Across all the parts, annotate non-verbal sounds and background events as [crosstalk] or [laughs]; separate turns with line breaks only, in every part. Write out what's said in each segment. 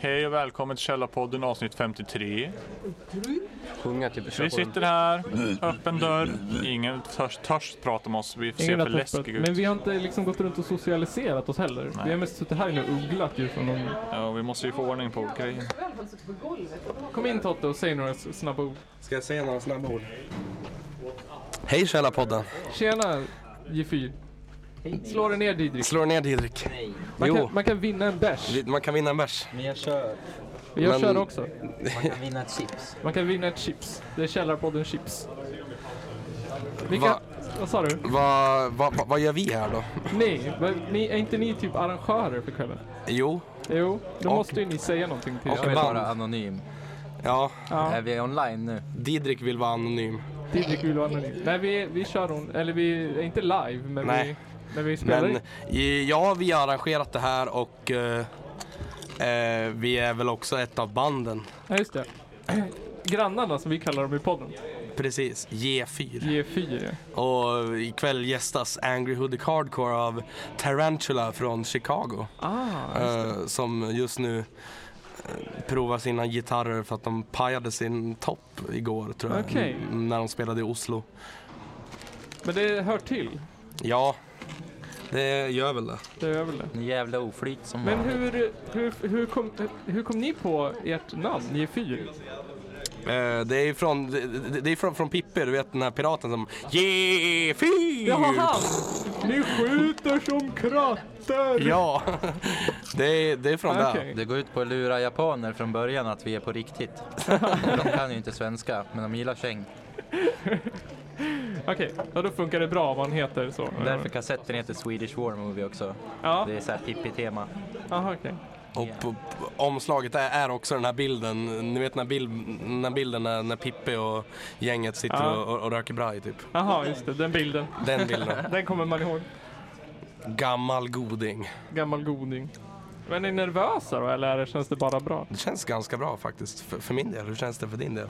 Hej och välkommen till Källarpodden avsnitt 53.
Sjunga till
Vi sitter här, öppen dörr. Ingen törs, törs prata med oss, vi ser
Ingen
för
har tänkt på det.
läskiga
Men
ut.
vi har inte liksom gått runt och socialiserat oss heller. Vi har mest suttit här inne och ugglat ju från någon...
Ja, vi måste ju få ordning på grejen.
Kom in Totte och säg några s- snabba ord.
Ska jag säga några snabba ord? Hej Källarpodden!
Tjena G4. Slå dig ner Didrik.
Slår ner Didrik.
Man
Jo,
kan, man kan vinna en bärs.
vi- man kan vinna en bärs.
Men jag kör.
Jag
men-
kör också.
Man kan vinna ett chips.
Man kan vinna ett chips. Det är Källarpodden Chips. Vilka...
Va?
Vad sa du?
Vad va, va, vad gör vi här då?
Nej, men ni, är inte ni typ arrangörer för kvällen?
Jo,
Jo, då
Och-
måste ju ni säga någonting till
och
oss.
Jag vill
band.
vara anonym.
ja,
Ja,
Är vi online nu?
Didrik vill vara anonym.
Didrik vill vara anonym. Nej, vi, vi kör hon, eller vi är inte live, men
Nej.
vi, men vi spelar
Men
in.
i- ja, vi har arrangerat det här och eh, eh, vi är väl också ett av banden.
Ja, just det. [clears throat] Grannarna som vi kallar dem i podden.
Precis, G4.
G4.
Och ikväll gästas Angry Hoodic Hardcore av Tarantula från Chicago.
Ah,
Eh, som just nu eh, provar sina gitarrer för att de pajade sin topp igår tror jag.
Okej.
m- När de spelade i Oslo.
men det hör till.
Ja, det gör väl det.
Det är väl det.
En jävla oflyt som
Mm.
Men
vanligt.
hur, hur, hur, kom, hur kom ni på ert namn, G4?
Eh, det är ju från, det- det, det är från, från Pippi, du vet den här piraten som Yeah, fyr!
Jag har han! Ni skjuter som kratter!
Ja, det är, det är från
Ah,
där.
okej.
Det går ut på att lura japaner från början att vi är på riktigt. De kan ju inte svenska, men de gillar käng.
Okej, ja, då funkar det bra om man heter så.
Därför kassetten heter Swedish War Movie också.
Ja,
Det är så här Pippi-tema.
aha, okej.
Och på, på- omslaget är, är också den här bilden, ni vet den här, bild, den här bilden när, när Pippi och gänget sitter
Ja.
och, och, och röker braj typ.
Aha, just det. Den bilden.
Den bilden.
[laughs] Den kommer man ihåg.
Gammal goding.
Gammal goding. Men är ni nervösa då, eller känns det bara bra?
Det känns ganska bra faktiskt, för, för min del. Hur känns det för din del?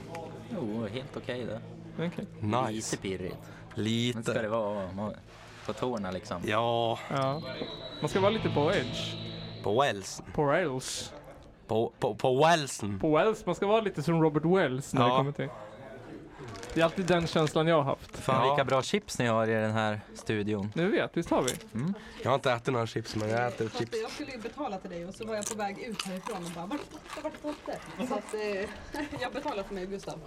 Jo, helt okej det.
Okej.
Lite
Nice.
pirrigt. Men ska det
Lite.
vara man- på tårna liksom.
Ja,
Ja. Man ska vara lite på edge.
på Wells.
På rails.
På, på, på Wellsen.
på Wells. Man ska vara lite som Robert Wells när
Ja.
det kommer till. Det är alltid den känslan jag har haft.
Fan
Ja.
vilka bra chips ni har i den här studion.
Nu vet, visst har vi?
Mm. Jag har inte ätit några chips, men jag äter chips.
Alltså, jag skulle ju betala till dig och så var jag på väg ut härifrån och bara vart är Totte, vart är Totte? Så att eh, [laughs] jag betalar för mig och Gustav.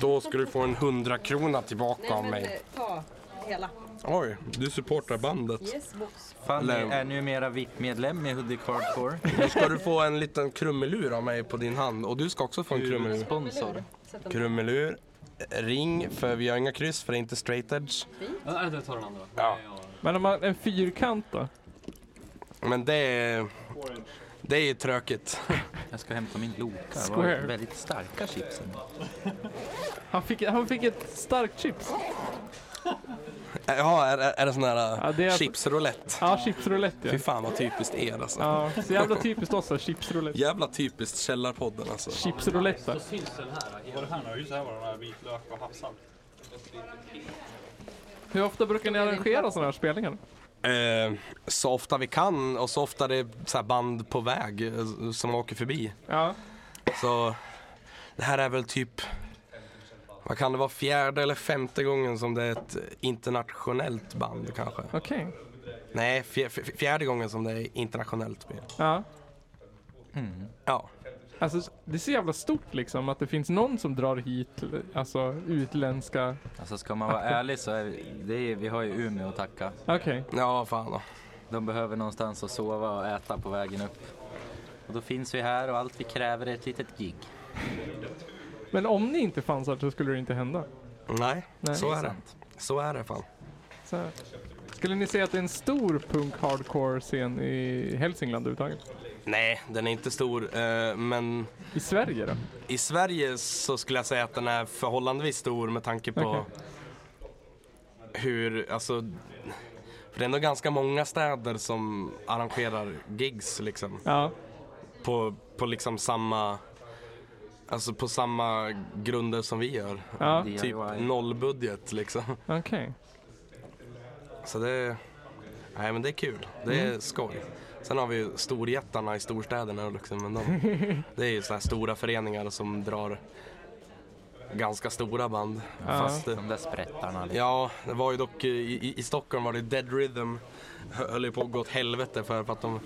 Då ska du få en hundra krona tillbaka
Nej
av
men eh,
mig.
ta hela.
Oj, du supportar bandet.
Yes box.
Fan, ni
Leo.
är numera VIP-medlem i Hudik Hardcore.
Nu ska du få en liten krummelur av mig på din hand. Och du ska också få en krummelur.
Sponsor.
Sätt den
Krummelur. Ring, för vi har inga kryss, för det är inte straight edge.
Men om man, en fyrkant då?
Men det är... Det är tråkigt.
Jag ska hämta min Loka. Det var
Square.
väldigt starka chipsen.
Han fick, han fick ett starkt chips.
Jaha, Äh, är, är är det sån här äh,
Ja, det är-
chipsroulette?
Ja, chipsroulette
Fy
ja.
fan vad typiskt er alltså.
ja. Så jävla typ- typiskt oss då, chipsroulette.
[laughs] Jävla typiskt Källarpodden alltså.
Chipsroulette.
Var det här nu? Just det här var den här vitlök och havssalt.
Hur ofta brukar ni arrangera sådana här spelningar?
Eh, så ofta vi kan och så ofta det är så här band på väg eh, som åker förbi.
Ja.
Så det här är väl typ, vad kan det vara, fjärde eller femte gången som det är ett internationellt band kanske?
Okej.
Nej, fjär, fjär- fjärde gången som det är internationellt spel.
Ja.
Ja,
Alltså, det är så jävla stort liksom att det finns någon som drar hit alltså, utländska...
Alltså ska man vara ärlig så är det är, vi har ju Umeå att tacka.
Okej.
ja fan då.
De behöver någonstans att sova och äta på vägen upp. Och då finns vi här och allt vi kräver är ett litet gig.
Men om ni inte fanns här så skulle det inte hända.
Nej,
Nej.
så är det. Så är det fan.
Så här. Skulle ni säga att det är en stor punk hardcore scen i Hälsingland överhuvudtaget?
Nej, den är inte stor, eh, men
I Sverige då?
I Sverige så skulle jag säga att den är förhållandevis stor med tanke på
Okej.
hur, alltså, för det är ändå ganska många städer som arrangerar gigs liksom.
Ja.
På, på liksom samma, alltså på samma grunder som vi gör.
ja.
DIY.
Typ nollbudget liksom.
Okej.
Så det, nej men det är kul, det är skoj. Sen har vi ju storjättarna i storstäderna liksom, men de, det är ju så här stora föreningar som drar ganska stora band.
Ja.
Fast, eh,
De där sprättarna. Liksom.
ja, det var ju dock eh, i, i- i Stockholm var det Dead Rhythm höll ju på att gå åt helvete för att de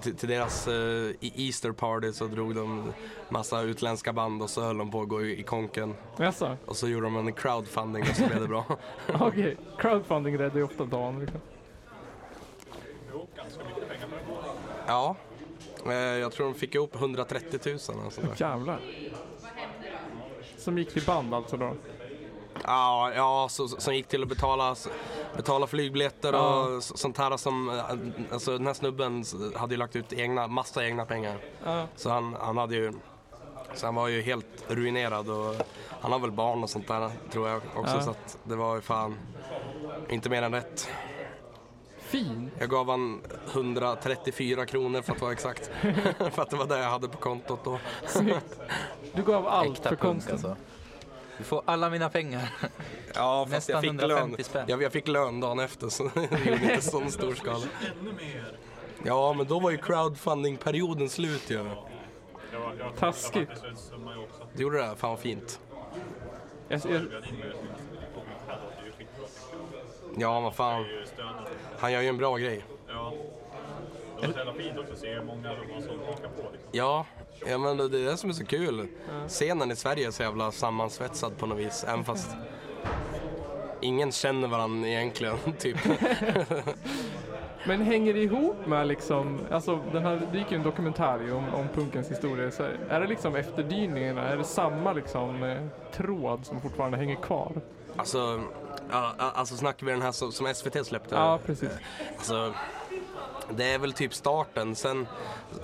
till, till deras eh, i- Easter party så drog de massa utländska band och så höll de på att gå i, i konken.
Jaså?
Och så gjorde de en crowdfunding och så blev det bra.
Okej. Crowdfunding räddar ju ofta dagen. Liksom.
Ja, eh, jag tror de fick ihop 130 000 eller sånt där.
Jävlar. Som gick till band alltså då?
Ja, ja så, så- som gick till att betala, betala flygbiljetter och
Ja.
s- sånt här som, eh, alltså den här snubben s- hade ju lagt ut egna, massa egna pengar.
Ja.
Så han, han hade ju, så han var ju helt ruinerad och han har väl barn och sånt där tror jag också
Ja.
så att det var ju fan inte mer än rätt.
Fin.
Jag gav han 134 kronor för att vara exakt. [laughs] för att det var det jag hade på kontot då.
Snyggt. Du gav allt
Äkta
för
punk
konsten.
alltså. Du får alla mina pengar.
Ja, fast
Nästan
jag fick lön.
150 spänn.
Jag, jag fick lön dagen efter så [laughs] det
[laughs]
gjorde inte sån stor skala. Ja, men då var ju crowdfunding-perioden slut ju.
Taskigt.
Du gjorde det? här, Fan vad fint.
Jag, jag,
Ja, vad fan. Han gör ju en bra grej.
Det var så jävla fint också att se hur många det var som hakade på. Liksom.
Ja, ja men det är det som är så kul. Scenen i Sverige är så jävla sammansvetsad på något vis. Även fast ingen känner varandra egentligen. [laughs]
[laughs]
Typ.
Men hänger det ihop med liksom, alltså den här, det gick ju en dokumentär ju om, om punkens historia i Sverige. Är det liksom efterdyningarna, är det samma liksom eh, tråd som fortfarande hänger kvar?
Alltså, ja, alltså snackar vi den här som som SVT släppte?
Ja, precis.
Alltså, det är väl typ starten. Sen,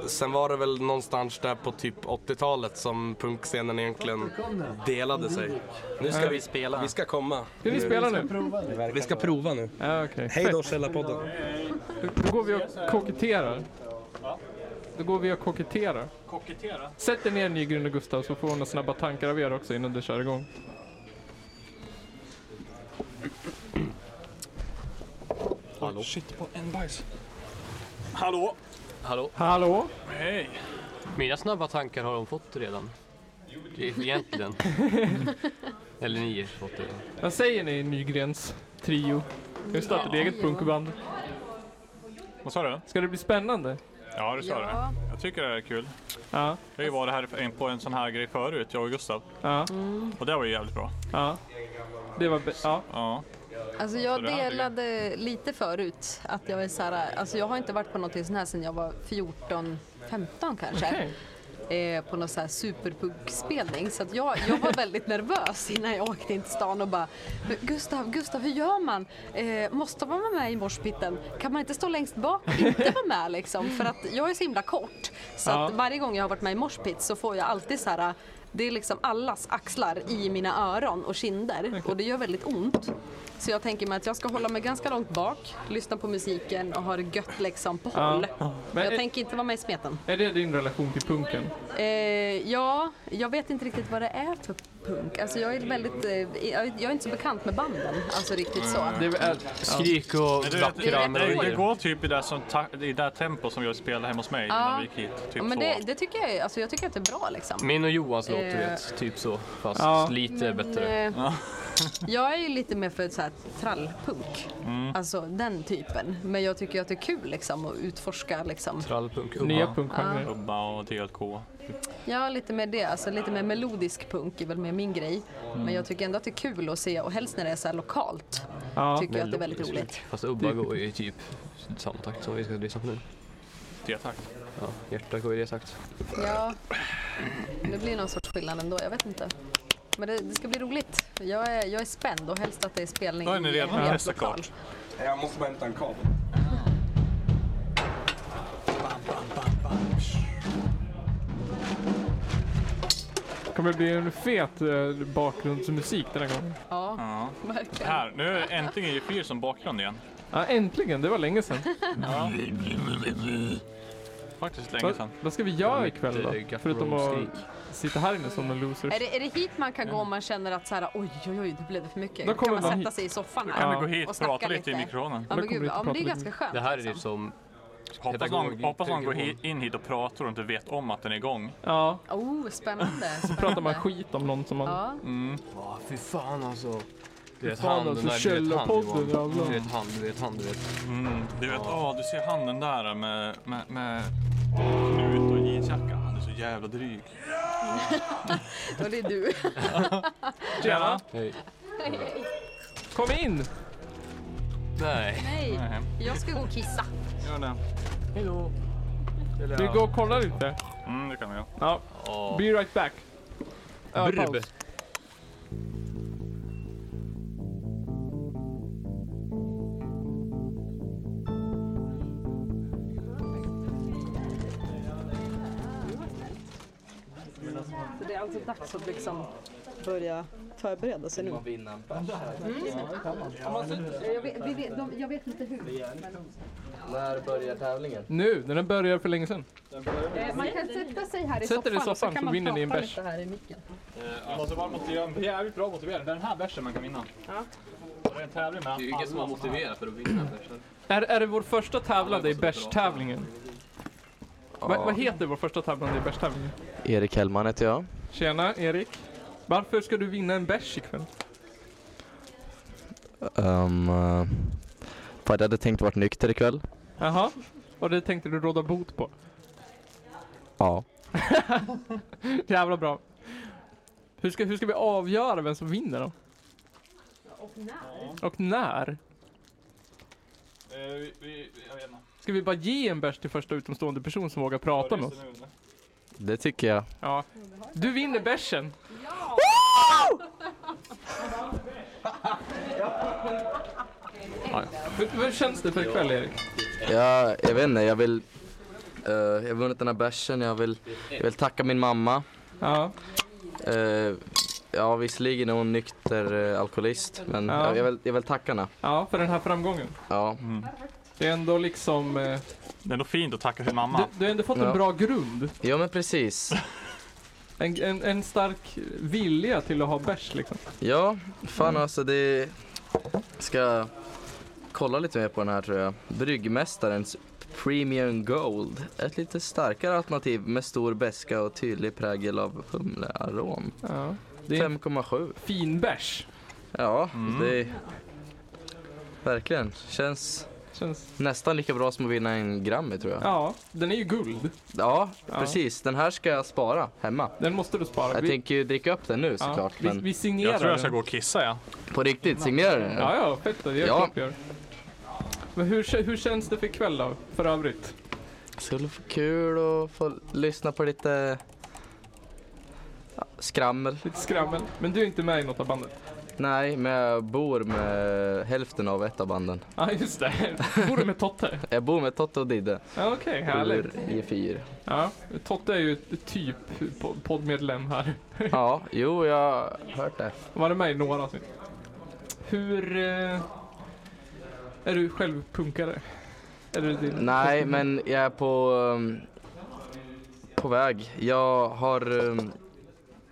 sen var det väl någonstans där på typ 80-talet som punkscenen egentligen delade sig. Nu ska
Ska
vi
vi spela?
Vi ska komma.
Ska ni spela nu?
Vi ska prova nu.
Ja, okej.
Hej då Källarpodden.
Då- Då går vi och koketterar. Då går vi och koketterar.
Kokettera?
Sätt er ner Nygren och Gustav så får vi några snabba tankar av er också innan du kör igång.
Shit på en bajs. Hallå?
Hallå?
Hej!
Mina snabba tankar har de fått redan. Det är Egentligen. Eller ni har fått det.
Vad säger ni Nygrens trio? Ska vi starta ett eget punkband?
Vad sa du?
Ska det bli spännande?
Ja, du sa
Ja.
det. Jag tycker det är kul.
Ja,
Jag har ju varit här för- på en sån här grej förut, jag och Gustav.
ja,
Mm.
Och det var ju jävligt bra.
ja. Det var bä- ja.
Ja.
Alltså
Så
jag
det här tycker jag-
delade lite förut att jag är så här, alltså jag har inte varit på någonting sån här sedan jag var 14, 15 kanske.
Okej.
Eh, på någon så här superpunkspelning. Så att jag, jag var väldigt nervös innan jag åkte in till stan och bara "Men Gustav, Gustav hur gör man? Eh, måste man vara med i morspitten? Kan man inte stå längst bak? Inte vara med liksom. För att jag är så himla kort. Så
Ja.
att varje gång jag har varit med i morspitt så får jag alltid så här det är liksom allas axlar i mina öron och kinder och det gör väldigt ont. Så jag tänker mig att jag ska hålla mig ganska långt bak, lyssna på musiken och ha det gött liksom på
Ja.
håll.
Men
jag
är-
tänker inte vara med i smeten.
Är det din relation till punken?
Eh, ja, jag vet inte riktigt vad det är för punk. Alltså jag är väldigt, eh, jag är jag är inte så bekant med banden, alltså riktigt så.
Det är, väl-
Skrik och
Du vet,
vackra
det, det
melodier.
går typ i det, som ta, i det tempo som jag spelade hemma hos mig innan vi gick hit. Typ
ja, men
så.
det, det tycker jag, är- alltså jag tycker att det är bra liksom.
Min och Johans låt, du
Eh.
vet. Typ så. Fast
Ja.
lite bättre.
Eh, Jag är ju lite mer för så här trallpunk,
Mm.
alltså den typen. Men jag tycker att det är kul liksom att utforska liksom.
Trallpunk.
Nya
Umma.
punkgenrer.
Ubba och DLK.
Ja, lite mer det, alltså lite mer melodisk punk är väl mer min grej.
Mm.
Men jag tycker ändå att det är kul att se och helst när det är så här lokalt
Ja.
tycker jag att det är väldigt roligt.
Fast Ubba går ju i typ samma takt som vi ska lyssna på nu.
Det tack.
Ja, hjärtat går i det takt.
Ja, det blir någon sorts skillnad ändå, jag vet inte. Men det, det ska bli roligt. Jag är, jag är spänd och helst att det är spelning
Då är ni
i
redan
en
här,
helt
såklart.
lokal.
Jag måste bara hämta en kabel.
Kommer det bli en fet eh, bakgrundsmusik den här gången?
Ja,
Ja.
verkligen.
Här, nu är det äntligen G4 som bakgrund igen.
Ja, äntligen! Det var länge sedan.
Faktiskt [laughs] länge
Vad,
sedan.
vad ska vi göra ikväll
eh,
Lite
då?
Guthrum
Förutom att
skrik.
sitta här inne som en loser.
Är det, är det hit man kan gå om man känner att så här, oj, oj, oj, det blev det för mycket?
Då
Då
kommer
kan man
man
sätta
hit.
sig i soffan
Kan
här?
Ja.
vi gå hit
Och
och
snacka
prata lite i
lite.
mikrofonen?
Ja,
Då
men
kommer
gud,
vi
ja, men det är
prata
ganska skönt.
Det här är
liksom.
typ som
Hoppas någon,
pedagogik
hoppas någon går
tänker
hi- in hit och pratar och inte vet om att den är igång.
[laughs]
Ja,
Oh,
[laughs]
spännande.
så pratar man skit om någon som man...
Ja.
Mm.
Ja, fy fan alltså. Du vet
fan,
han, den
alltså,
där, du vet han
källarpodden,
Johan.
jävlar.
Du vet han, du vet han, du vet.
Mm, du vet, åh, du ser handen där med, med, med knut och jeansjacka. Han är så jävla dryg.
Och det är du.
[laughs] Tjena!
Hej.
Kom in!
Nej.
Nej,
Nej,
jag ska gå och kissa.
gör det.
Hejdå. Eller,
Vi
ja.
går och kollar lite.
Mm, det kan vi göra.
Ja,
Ja.
be right back. Ja,
Brub.
paus.
Så det är alltså dags att liksom börja förbereda sig nu.
Jag vet, vi vet, de, jag vet inte hur.
När börjar tävlingen?
Nu, när den börjar för länge sedan.
Eh, Man kan sätta sig här i
Sätt dig i
soffan, så
soffan
kan
så
man
vinner ni en
prata
bärs. Eh,
lite här i micken.
Man måste vara motiverad. Det är jävligt bra motiverad. Det är den här versen man kan vinna. Och Det är en tävling med
Det är ju ingen som har motiverat för att vinna.
Är, är det vår första tävlande i bärstävlingen? Va, vad heter vår första tävlande i bärstävlingen?
Erik Hellman heter jag.
Tjena, Erik. Varför ska du vinna en bärs ikväll?
Um, uh, för jag hade tänkt vara nykter ikväll.
Jaha, och det tänkte du råda bot på. [laughs]
Ja.
Jävla bra. Hur ska, hur ska vi avgöra vem som vinner då? Och när?
Eh, vi, vi, vi- jag vet inte.
Ska vi bara ge en bärs till första utomstående person som vågar prata med oss?
Det tycker jag.
Ja. Du vinner bärsen! Ja! Hur, hur känns det för ikväll Erik?
Ja, jag vet inte, jag vill... eh, jag har vunnit den här bärsen, jag vill, jag vill tacka min mamma.
Ja.
Eh, ja, visserligen är hon nykter eh, alkoholist, men
Ja.
jag, jag, vill, jag vill tacka henne.
ja, för den här framgången. Mm.
Ja.
Det är ändå liksom... eh,
Det är ändå fint att tacka sin
Du,
mamma.
du har ändå fått en
Ja.
bra grund.
ja, men precis.
[laughs] En, en, en stark vilja till att ha bärs liksom.
Ja, fan alltså det... Ska kolla lite mer på den här tror jag. Bryggmästarens Premium Gold. Ett lite starkare alternativ med stor beska och tydlig prägel av humlearom.
Ja. Det är en
5,7.
fin bärs.
Ja, det är... Verkligen. Känns
Känns...
nästan lika bra som att vinna en Grammy tror jag.
Ja, den är ju guld.
Ja, precis. Den här ska jag spara hemma.
Den måste du spara.
Jag
Vi-
tänker ju dricka upp den nu
ja,
såklart.
vi,
Men
vi signerar
Jag tror jag ska
den.
gå och kissa, ja.
på riktigt, signera den.
Ja, ja, fett det. Det är
Ja.
klart vi gör. Men hur, kä- hur känns det för ikväll då, för övrigt?
skulle få kul och få lyssna på lite ja, skrammel.
Lite skrammel. Men du är inte med i något av bandet?
Nej, men jag bor med hälften av ett av banden.
Ja, just det. Bor du med Totte?
Jag bor med Totte och Didde.
Ja, Okej, härligt.
i fyr.
Ja, Totte är ju ett typ po- poddmedlem här. [laughs]
Ja, jo, jag har hört det.
Var det med i några avsnitt? Hur... Eh, är du själv punkare? Är det din?
Nej, men jag är på, um, på väg. Jag har... Um,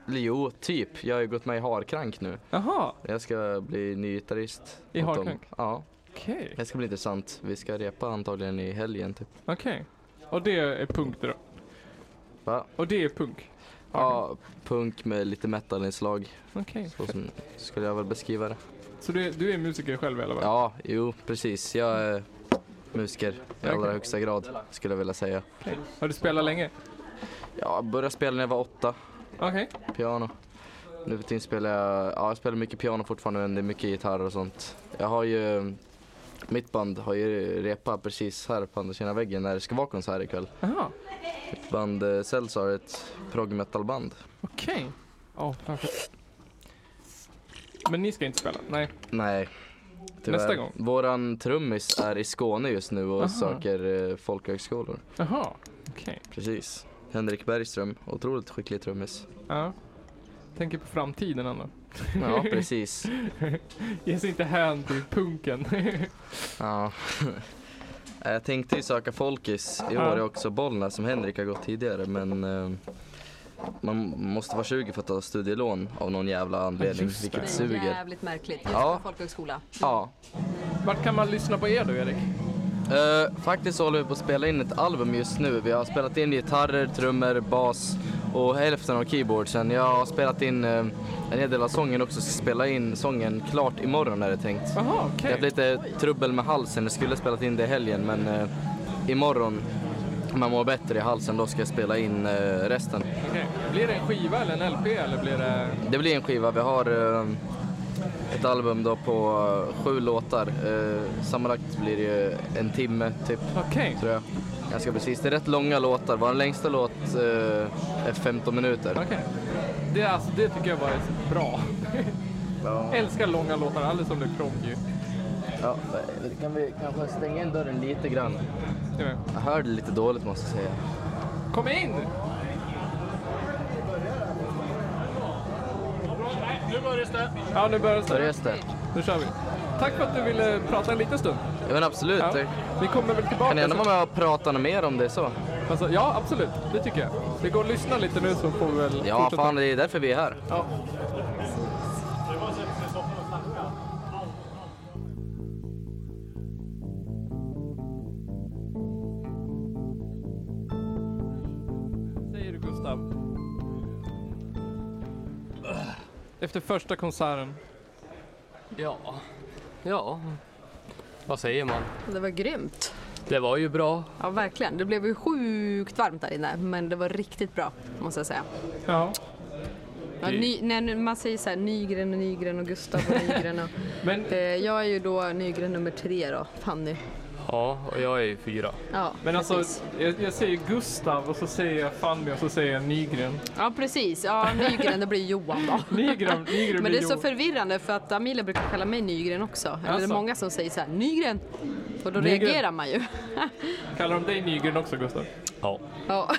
jo, typ. Jag har ju gått med i Harkrank nu.
Jaha,
Jag ska bli ny gitarrist.
I
åt dem.
Harkrank?
Ja,
okej.
det ska bli intressant. Vi ska repa antagligen i helgen typ.
Okej. Och det är punk det då?
Va?
Och det är punk?
Ja, punk med lite metalinslag.
Okej.
Så som skulle jag väl beskriva det.
Så du, är- du är musiker själv i alla fall?
Ja, jo precis. Jag är musiker i allra högsta grad skulle jag vilja säga.
Okej. Har du spelat länge?
Jag började spela när jag var åtta,
Okej.
piano. Nu för tiden spelar jag, ja jag spelar mycket piano fortfarande men det är mycket gitarr och sånt. Jag har ju, mitt band har ju repa precis här på andra sidan väggen när det ska vara konsert ikväll.
Jaha,
Mitt band eh, Cells har ett prog metal-band.
okej. Åh, perfekt. Men ni ska inte spela? Nej.
Nej. tyvärr.
Nästa gång.
Våran trummis är i Skåne just nu och
Aha.
söker eh, folkhögskolor.
Jaha, okej.
Precis. Henrik Bergström, otroligt skicklig trummis.
Ja. Tänker på framtiden ändå. [laughs]
Ja, precis.
Ge sig inte hän till punken. [laughs]
Ja. [laughs] Eh, Jag tänkte ju söka folkis. I år är också Bollnäs som Henrik har gått tidigare men eh, man måste vara 20 för att ta studielån av någon jävla anledning,
just det.
Det
vilket
är
suger.
jävligt märkligt. Just
Ja.
på folkhögskola.
Ja,
Vart kan man lyssna på er då, Erik?
Eh, faktiskt så håller vi på att spela in ett album just nu. Vi har spelat in gitarrer, trummor, bas och hälften av keyboardsen. Jag har spelat in eh, en hel del av sången också, ska spela in sången klart imorgon är det tänkt.
Jaha, okej.
Jag hade lite trubbel med halsen, jag skulle ha spelat in det i helgen men eh, imorgon om jag mår bättre i halsen då ska jag spela in eh, resten.
Okej. Blir det en skiva eller en LP eller blir det...
Det blir en skiva. Vi har eh, ett album då på eh, sju låtar. Eh, sammanlagt blir det ju en timme typ,
Okej.
tror jag. Ganska precis. Det är rätt långa låtar. Vår längsta låt eh, är 15 minuter.
Okej. Det, är alltså, det tycker jag bara är så bra. [laughs]
Ja.
Älskar långa låtar, alldeles som det är proggy.
Ja, eh, kan vi kanske stänga in dörren lite grann?
Jag vet.
Jag hör det lite dåligt måste jag säga.
Kom in! Ja, nu börjar det.
Där just det.
Nu kör vi. Tack för att du ville prata en liten stund.
Ja, men absolut.
Ja.
Jag
Vi kommer väl tillbaka.
Kan gärna
så-
vara med och prata något mer om det så.
alltså, ja, absolut. Det tycker jag. Vi går och lyssnar lite nu så får vi väl
Ja, fan det är därför vi är här.
Säger du Gustav? Efter första konserten.
Ja. Ja. Vad säger man?
Det var grymt.
Det var ju bra.
Ja, verkligen. Det blev ju sjukt varmt där inne, men det var riktigt bra, måste jag säga.
Ja.
Ja, ny, nej, nu- man säger så här, Nygren och Nygren och Gustav
[laughs]
och Nygren. Och,
Men
eh, jag är ju då Nygren nummer tre då, Fanny.
Ja, och jag är ju fyra.
Ja,
Men alltså,
precis.
jag, jag säger Gustav och så säger jag Fanny och så säger jag Nygren.
Ja, precis. Ja, Nygren, det blir Johan då.
Nygren, [laughs]
[laughs]
Nygren
Men det är så
Johan.
förvirrande för att Amelia brukar kalla mig Nygren också. Eller det är
Alltså.
många som säger så här, Nygren. Och då
Nygren.
reagerar man ju.
Kallar de dig Nygren också Gustav?
Ja.
[laughs]
Ja.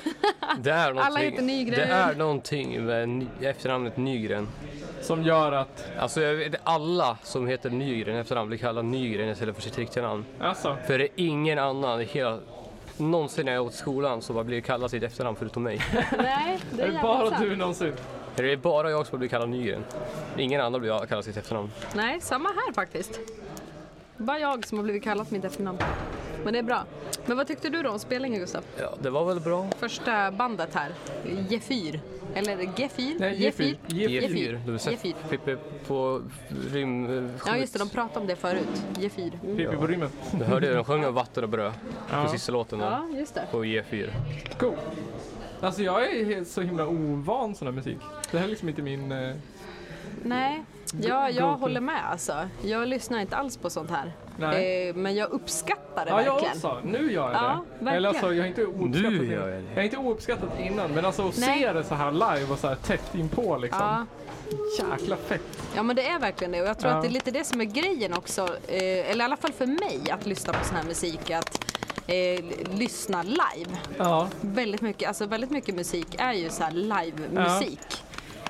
Det är någonting,
heter Nygren.
Det är någonting med ny, efternamnet Nygren.
Som gör att...
Alltså jag vet, alla som heter Nygren i efternamn blir kallade Nygren istället för sitt riktiga namn.
Alltså,
För det är ingen annan i hela någonsin när jag åt skolan som har blivit kallad sitt efternamn förutom
[laughs]
mig.
nej, det är
är det
jävla
bara
sant.
du någonsin?
Det är bara jag som har blivit kallad Nygren. Ingen annan blir kallad sitt efternamn.
Nej, samma här faktiskt. Bara jag som har blivit kallad mitt efternamn. Men det är bra. Men vad tyckte du då om spelningen Gustav?
Ja, det var väl bra.
Första bandet här, Gefyr. Eller Gefyr?
Nej, Gefyr. Gefyr.
Gefyr. Du har sett
Gefyr.
Pippi på rym... eh,
Ja just det, de pratade om det förut. Gefyr. Mm.
Pippi på rymmen.
Du hörde ju, de sjöng
[laughs]
om vatten och bröd på sista låten där.
Ja, just det.
På G4.
Cool. Alltså jag är helt- så himla ovan sån här musik. Det här är liksom inte min... eh,
Nej, jag,
go
jag
to.
håller med alltså. Jag lyssnar inte alls på sånt här.
Nej.
Eh, men jag uppskattar det
Ja, jag
verkligen.
också. Nu gör jag
Ja,
det.
verkligen.
Eller alltså, jag har inte ouppskattat
Nu
det.
gör jag det.
Jag har inte ouppskattat innan, men alltså att se
Nej.
det så här live och så här tätt inpå liksom.
Ja.
Jäkla fett.
ja, men det är verkligen det. Och jag tror
Ja.
att det är lite det som är grejen också. Eh, eller i alla fall för mig att lyssna på sån här musik. Att eh, l- lyssna live.
Ja.
Väldigt mycket, alltså väldigt mycket musik är ju så här live-musik.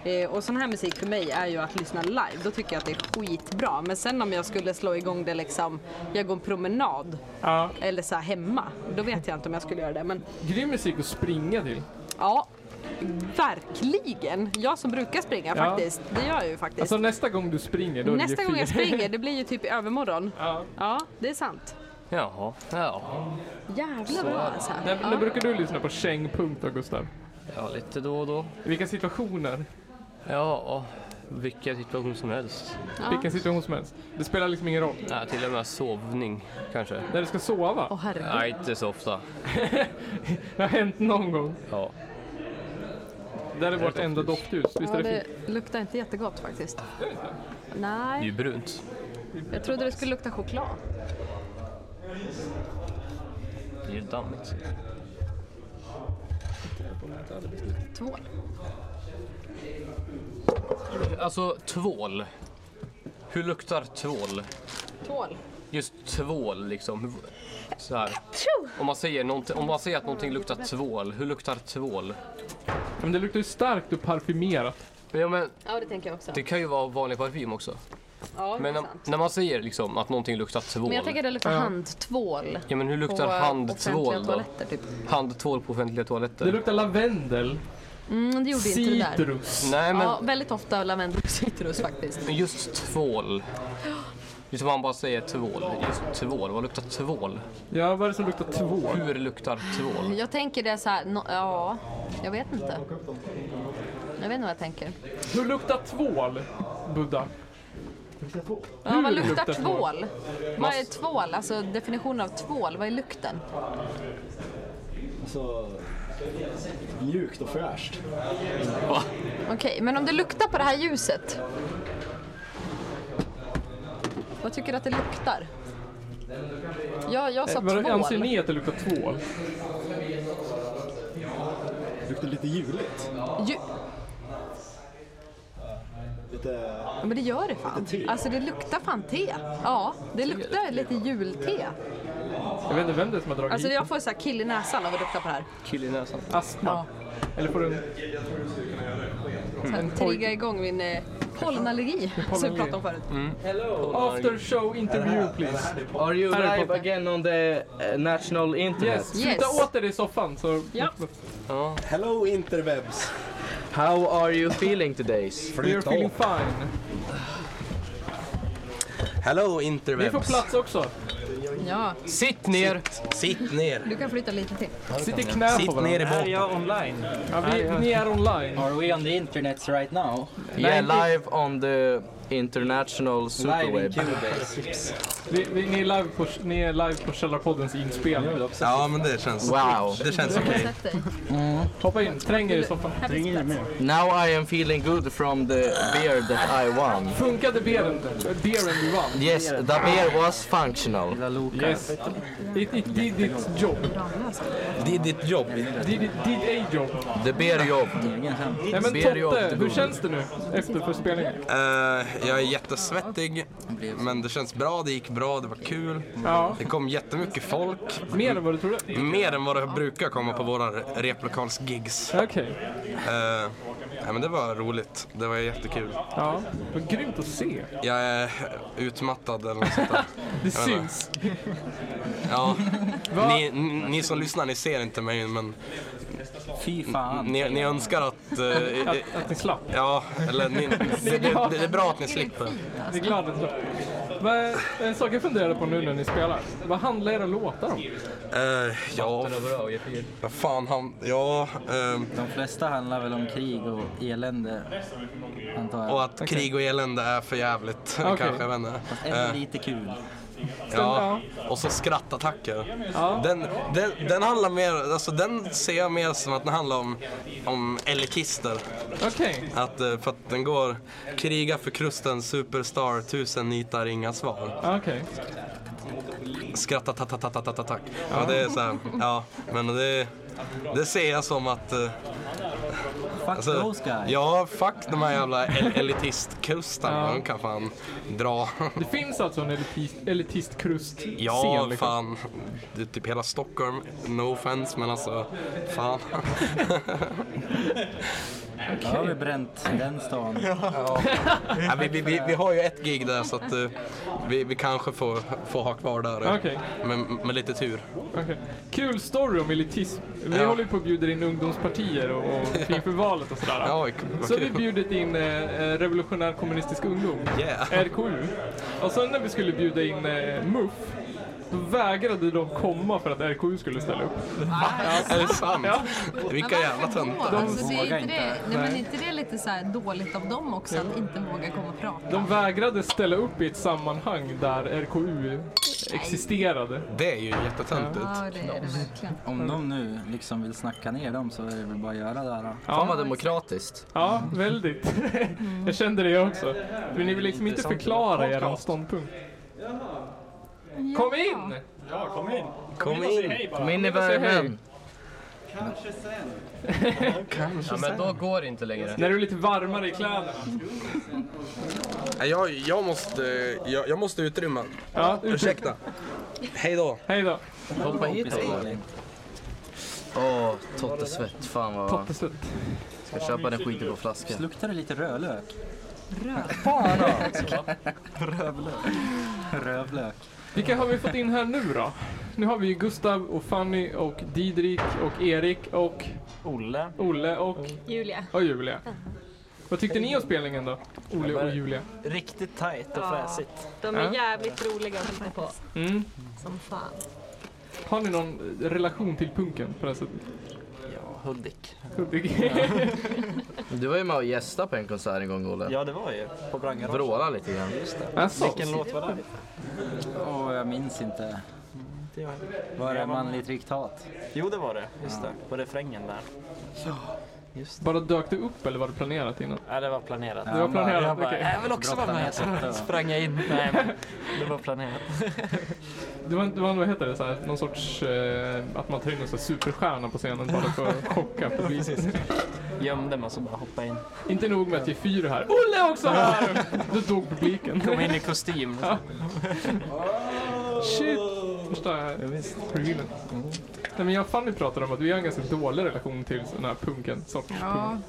Eh, och sån här musik för mig är ju att lyssna live. Då tycker jag att det är skitbra. Men sen om jag skulle slå igång det liksom, jag går en promenad
ja.
eller så här hemma. Då vet jag inte om jag skulle göra det. Men
Grym musik att springa till.
ja, verkligen. Jag som brukar springa
Ja.
faktiskt. Det gör jag ju faktiskt.
Alltså nästa gång du springer, då är det
Nästa gång jag
Gefyr.
springer, det blir ju typ i övermorgon.
Ja.
Ja, det är sant.
[laughs] Jaha. Ja.
Jävla bra alltså.
När, när
Ja.
brukar du lyssna på kängpunkt då Gustav?
ja, lite då och då.
I vilka situationer?
Ja, vilken situation som helst.
Vilken situation som helst. Det spelar liksom ingen roll.
Nej, till och med sovning kanske.
När du ska sova?
Åh herregud.
Nej, inte så ofta.
[laughs] Det har hänt någon gång.
Ja.
Det är vårt enda doftljus. Visst
Ja,
är det
det
fint?
luktar inte jättegott faktiskt.
Det är
Nej,
ju brunt.
jag trodde det skulle lukta choklad.
Det är ju dammigt.
Tvål.
Alltså, tvål. Hur luktar tvål?
Tvål.
Just tvål liksom. Så här. Om man säger, någonting- om man säger att någonting luktar tvål, hur luktar tvål?
Men det luktar ju starkt och parfymerat.
Ja, men
Ja, det tänker jag också.
det kan ju vara vanlig parfym också.
Ja, det
Men
är
när,
sant.
när man säger liksom att någonting luktar tvål.
Men jag tänker att det luktar handtvål.
Ja men hur luktar
på eh, offentliga
handtvål då?
toaletter typ.
Handtvål på offentliga
Det
toaletter?
luktar lavendel,
Mm, det gjorde inte det där.
citrus.
Nej men
Ja, väldigt ofta lavendel och citrus faktiskt.
just tvål. Just vad han bara säger tvål. Just tvål. Vad luktar tvål?
Ja, vad är det som luktar två?
Hur luktar tvål?
Jag tänker det är så här, nå- ja, jag vet inte. Jag vet inte vad jag tänker.
Hur luktar tvål, Buddha?
Ja, vad
Hur
luktar
Mm. luktar tvål?
tvål? Vad är tvål? Alltså definitionen av tvål, vad är lukten?
Alltså, mjukt och fräscht.
Okej, men om det luktar på det här ljuset? Vad tycker du att det luktar? Ja, jag sa
Eh, vadå,
tvål.
Anser ni att det luktar tvål?
Luktar lite juligt.
Ju-
Lite...
Ja, men det gör det fan. Alltså det luktar fan te. Ja, det luktar lite julte.
Jag vet inte vem det är som har dragit
Alltså
hit
jag får så här kill i näsan av att lukta på det här.
Kill i näsan.
Astma? Eller får du en...
Så här,
en
trigga igång min eh, pollenallergi som vi pratade om förut.
After show interview please.
Mm. Are you
Harry
live
Potter.
again on the eh, national internet?
Yes, flytta
Yes.
åt dig i soffan så...
Ja.
Hello interwebs!
How are you feeling today?
We're feeling fine.
Hello
Ni får
interwebs!
plats också.
ja,
Sitt ner!
Sitt ner!
du kan flytta lite till.
Sitt i knä på
Sitt ner
varandra.
i båten.
jag online?
Ja, vi, ni är online.
Are we on the internet right now?
Yeah, live on the international superweb.
Cubase.
Vi, vi, ni, är live på, ni är live på Källarpoddens inspelning.
Ja, men det känns...
Wow.
Det känns okej.
Sätt dig.
Hoppa in, träng er i soffan.
Now I am feeling good from the beer that I won.
Funkade beeren? Beeren du vann?
Yes, the beer was functional.
Yes. It, it did its job.
Det är ditt jobb.
Did, it, did a job.
The beer jobbed.
Nej men
Ber jag
Totte,
inte
hur
gå.
känns det nu efter för spelningen?
Eh, jag är jättesvettig, men det känns bra. Det gick bra, det var kul.
Ja,
Det kom jättemycket folk.
mer än vad du trodde?
Mer än vad det brukar komma på våra re- replokalsgigs.
Okej.
Eh, nej, men det var roligt. Det var jättekul.
Ja, vad grymt att [laughs] se.
Jag är utmattad eller något
[laughs]
sånt där.
Det syns.
Ja.
Va?
Ni, ni- ni som lyssnar, ni ser inte mig, men
Fy fan.
ni, ni önskar att... eh, eh,
[laughs] Att ni slapp.
ja,
[laughs]
eller ni, det, det, det är bra att ni slipper.
Det är glad att slapp. Men en sak jag funderar på nu när ni spelar. Vad handlar era låtar om?
Eh, ja, vad fan han... Ja, ehm,
De flesta handlar väl om krig och elände, antar jag.
och att krig och elände är för jävligt [laughs]
Okej.
kanske, jag vet inte. Eh.
Fast ändå lite kul.
Ja, och så skrattattacker.
Ja.
Den, den, den handlar mer, alltså den ser jag mer som att den handlar om, om elitister.
Okej.
Att, eh, för att den går, kriga för krusten, superstar, tusen nitar, inga svar.
Ja, Okej.
Skratta, ta, ta, ta, ta, ta, ta, tack. Ja, det är så här, ja, men det, det ser jag som att... eh,
Fuck
Alltså,
those guys.
ja, fuck de här jävla el- elitistkrusten. De kan fan dra.
Det finns alltså en elitist, elitistkrust
Ja,
scen, liksom.
fan. Det är typ hela Stockholm. No offense, men alltså,
[laughs]
fan.
Då har vi bränt den stan.
Ja, vi, vi, vi, vi har ju ett gig där så att eh, vi, vi kanske får, får ha kvar där. eh,
Okej.
Med, med lite tur.
Okej. Kul story om elitism. Vi
Ja.
håller ju på och bjuder in ungdomspartier och,
[laughs]
och inför valet och sådär.
Ja, vad kul.
Så har vi bjudit in eh, eh, Revolutionär Kommunistisk Ungdom,
Yeah.
RKU. Och sen när vi skulle bjuda in eh, MUF, då vägrade de komma för att RKU skulle ställa upp.
Är det sant?
Ja.
[laughs] Vilka
Men
jävla
varför då?
töntar.
Alltså, det är
vågar
inte det, nej, men inte det lite så här dåligt av dem också att inte våga komma och prata?
De vägrade ställa upp i ett sammanhang där RKU existerade.
Det är ju jättetöntigt.
Ja, det är det verkligen.
Om de nu liksom vill snacka ner dem så är det väl bara att göra det här. då.
Fan vad demokratiskt.
Ja, väldigt. [laughs] jag kände det också. Men ni vill liksom inte förklara er ståndpunkt. Kom in!
Ja, kom in.
Kom
och säg
in.
hej bara.
Kom in i
säga hej.
värmen.
Ja, men då går det inte längre.
När du är lite varmare i kläderna.
Nej, Jag, jag, måste, eh, jag, jag måste utrymma.
Ja, ursäkta.
Ursäkta. Hej då.
Hej då.
Hoppa hit Malin.
Åh, Totte Svett. Fan vad...
Tottesvett.
Ska köpa den skiten på flaska.
Luktar det lite rödlök? Rödlök? Rövlök.
Vilka har vi fått in här nu då? Nu har vi ju Gustav och Fanny och Didrik och Erik och
Olle.
Olle och,
Julia.
och Julia. Vad tyckte ni om spelningen då? Ole och Julia?
Riktigt tajt och
Ja,
fräsigt.
De är
Ja.
jävligt roliga att titta på.
Mm.
Som fan.
Har ni någon relation till punken på det här sättet?
Ja, Hudik.
Hudik.
Du var ju med och gästade på en konsert en gång, Olle.
Ja, det var ju. På Brangaren.
Vråla lite grann.
Just det.
Jaså?
Vilken låt var det?
Åh, jag minns inte. Var det manligt riktat?
Jo, det var det. Just det. På refrängen där.
Bara dök det upp eller var det planerat innan?
Ja, det var planerat.
Det var
Jag bara-
planerat,
Jag, bara,
okej.
jag vill också
Bra
vara med. [laughs]
planerat,
Så
detta.
sprang jag in. Nej, men det var planerat. [laughs]
Det var, det var vad heter det, så här, någon sorts eh, att man tar in en sån här superstjärna på scenen bara för
[laughs]
att chocka [laughs] publiken.
Gömde mig så bara hoppade in.
Inte nog med att det är fyra här. Olle är också
[laughs]
här! Då dog publiken.
Kom in i kostym.
[laughs]
[laughs]
Ja. Shit! Förstår jag. Revealen.
Mm.
Nej, men jag och Fanny pratade om att vi har en ganska dålig relation till den här punken, sorts
Ja.
punk.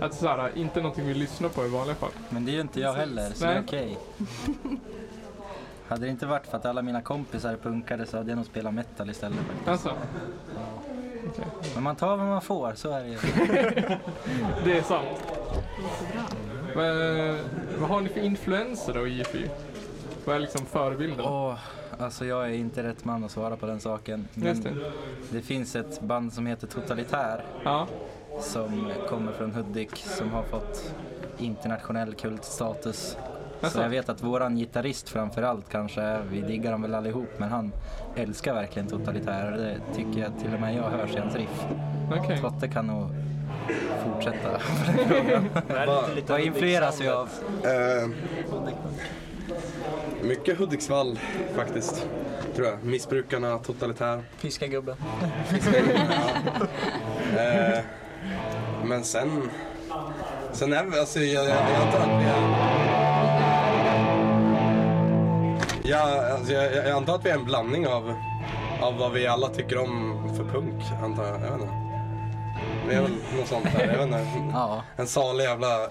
Att så här, inte någonting vi lyssnar på i vanliga fall.
Men det är ju inte jag heller, så det är
Nej.
okej. Hade det inte varit för att alla mina kompisar punkade så hade jag nog spelat metal istället. faktiskt.
Alltså,
Men man tar vad man får, så är det ju.
det är sant. Men, vad har ni för influenser då i IFY? Vad är liksom förebilden?
Åh, alltså jag är inte rätt man att svara på den saken.
Just
Men
det.
det finns ett band som heter Totalitär. Som kommer från Hudik som har fått internationell kultstatus.
Jaså?
Så jag vet att våran gitarrist framför allt kanske, vi diggar dem väl allihop, men han älskar verkligen Totalitär och det tycker jag till och med jag hörs i hans riff.
Okej.
Totte kan nog
[laughs]
fortsätta på den frågan. [laughs] Vad influeras vi av?
Eh, mycket Hudiksvall faktiskt, tror jag. Missbrukarna, totalitär. [laughs]
Fiskagubben.
Eh, men sen... Sen är vi, alltså jag, jag, jag antar att vi är... Ja, alltså, jag, jag antar att vi är en blandning av, av vad vi alla tycker om för punk, antar jag. Jag vet inte. Vi är väl något sånt där, jag vet inte. En salig jävla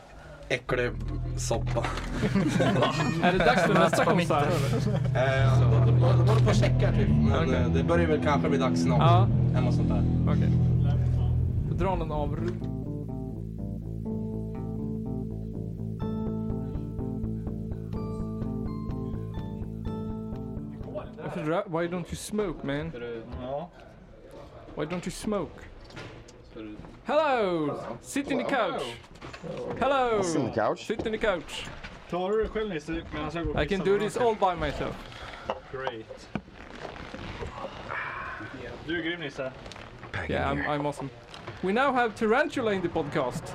äcklig soppa.
[laughs] Är det dags för nästa konsert?
Eh, de de håller på och checkar typ, men eh, det börjar väl kanske bli dags snart.
Ja.
Eller något sånt där.
Okej. Dra någon avrund. Varför rö- Why don't you smoke man? Why don't you smoke? Hello! Sit in the couch! Hello!
Sit in the couch.
Sit in the couch.
Tar du det själv Nisse medan jag går och
I can
pissar
do
med
this
röken?
all by myself.
Great. Du är grym Nisse.
Yeah, I'm, I'm awesome. We now have Tarantula in the podcast.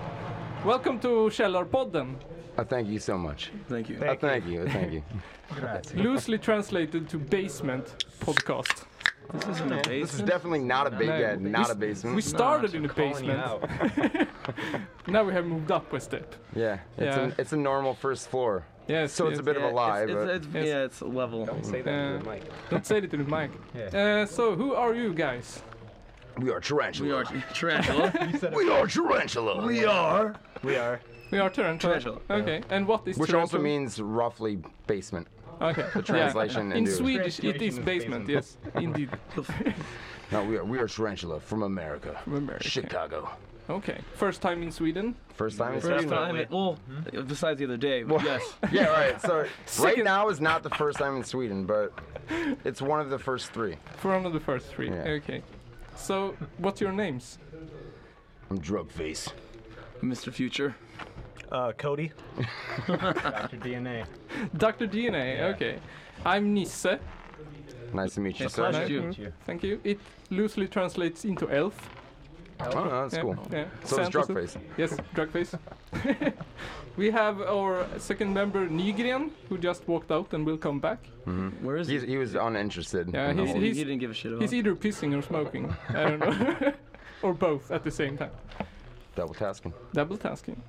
Welcome to Källarpodden.
Uh, thank you so much. Thank you. Thank, thank you. Thank you.
[laughs] Loosely translated to basement podcast. This
isn't a This is definitely not a ba- yeah, not a basement.
We started in a
Calling you
basement. [laughs] now we have moved up a step.
Yeah, it's,
Yeah.
A, it's a normal first floor.
Yes,
So it's a
yes.
bit of a lie, but
Yes.
it's level. Don't say
Uh, Don't say it to the mic. [laughs] Uh, so who are you guys?
we are tarantula. We are [laughs]
tarantula.
we are tarantula.
We are-
We are.
We are tarantula. Okay, and what is
Which also
tarantula?
means roughly basement.
Okay.
The translation
yeah. in
into-
Swedish it is basement. Yes, indeed.
[laughs] No, we are we are tarantula from America.
From America.
Chicago.
Okay, first time in Sweden.
First time. in
First
Sweden?
time, in- well, besides the other day, but
Well,
yes.
[laughs] yeah, right. So right
Second-
now is not the first time in Sweden, but it's one of the first three.
For one of the first three. Okay. So what's your names?
I'm drug face.
Mr. Future. Uh,
[laughs]
Cody. Dr. DNA.
Dr. DNA. Okay. I'm Nisse.
Nice to meet you,
Nice
sir.
to meet you. Thank you. It loosely translates into elf.
Oh, no, that's
Yeah,
cool.
yeah.
So it's
Santa's-
drug face.
Yes, drug face. [laughs] we have our second member Nygren, who just walked out and will come back.
Where is Mm-hmm. he? He was uninterested.
Yeah,
in the
he's,
whole-
he's, He's either pissing or smoking. I don't know, [laughs] or both at the same time.
double tasking.
Double tasking.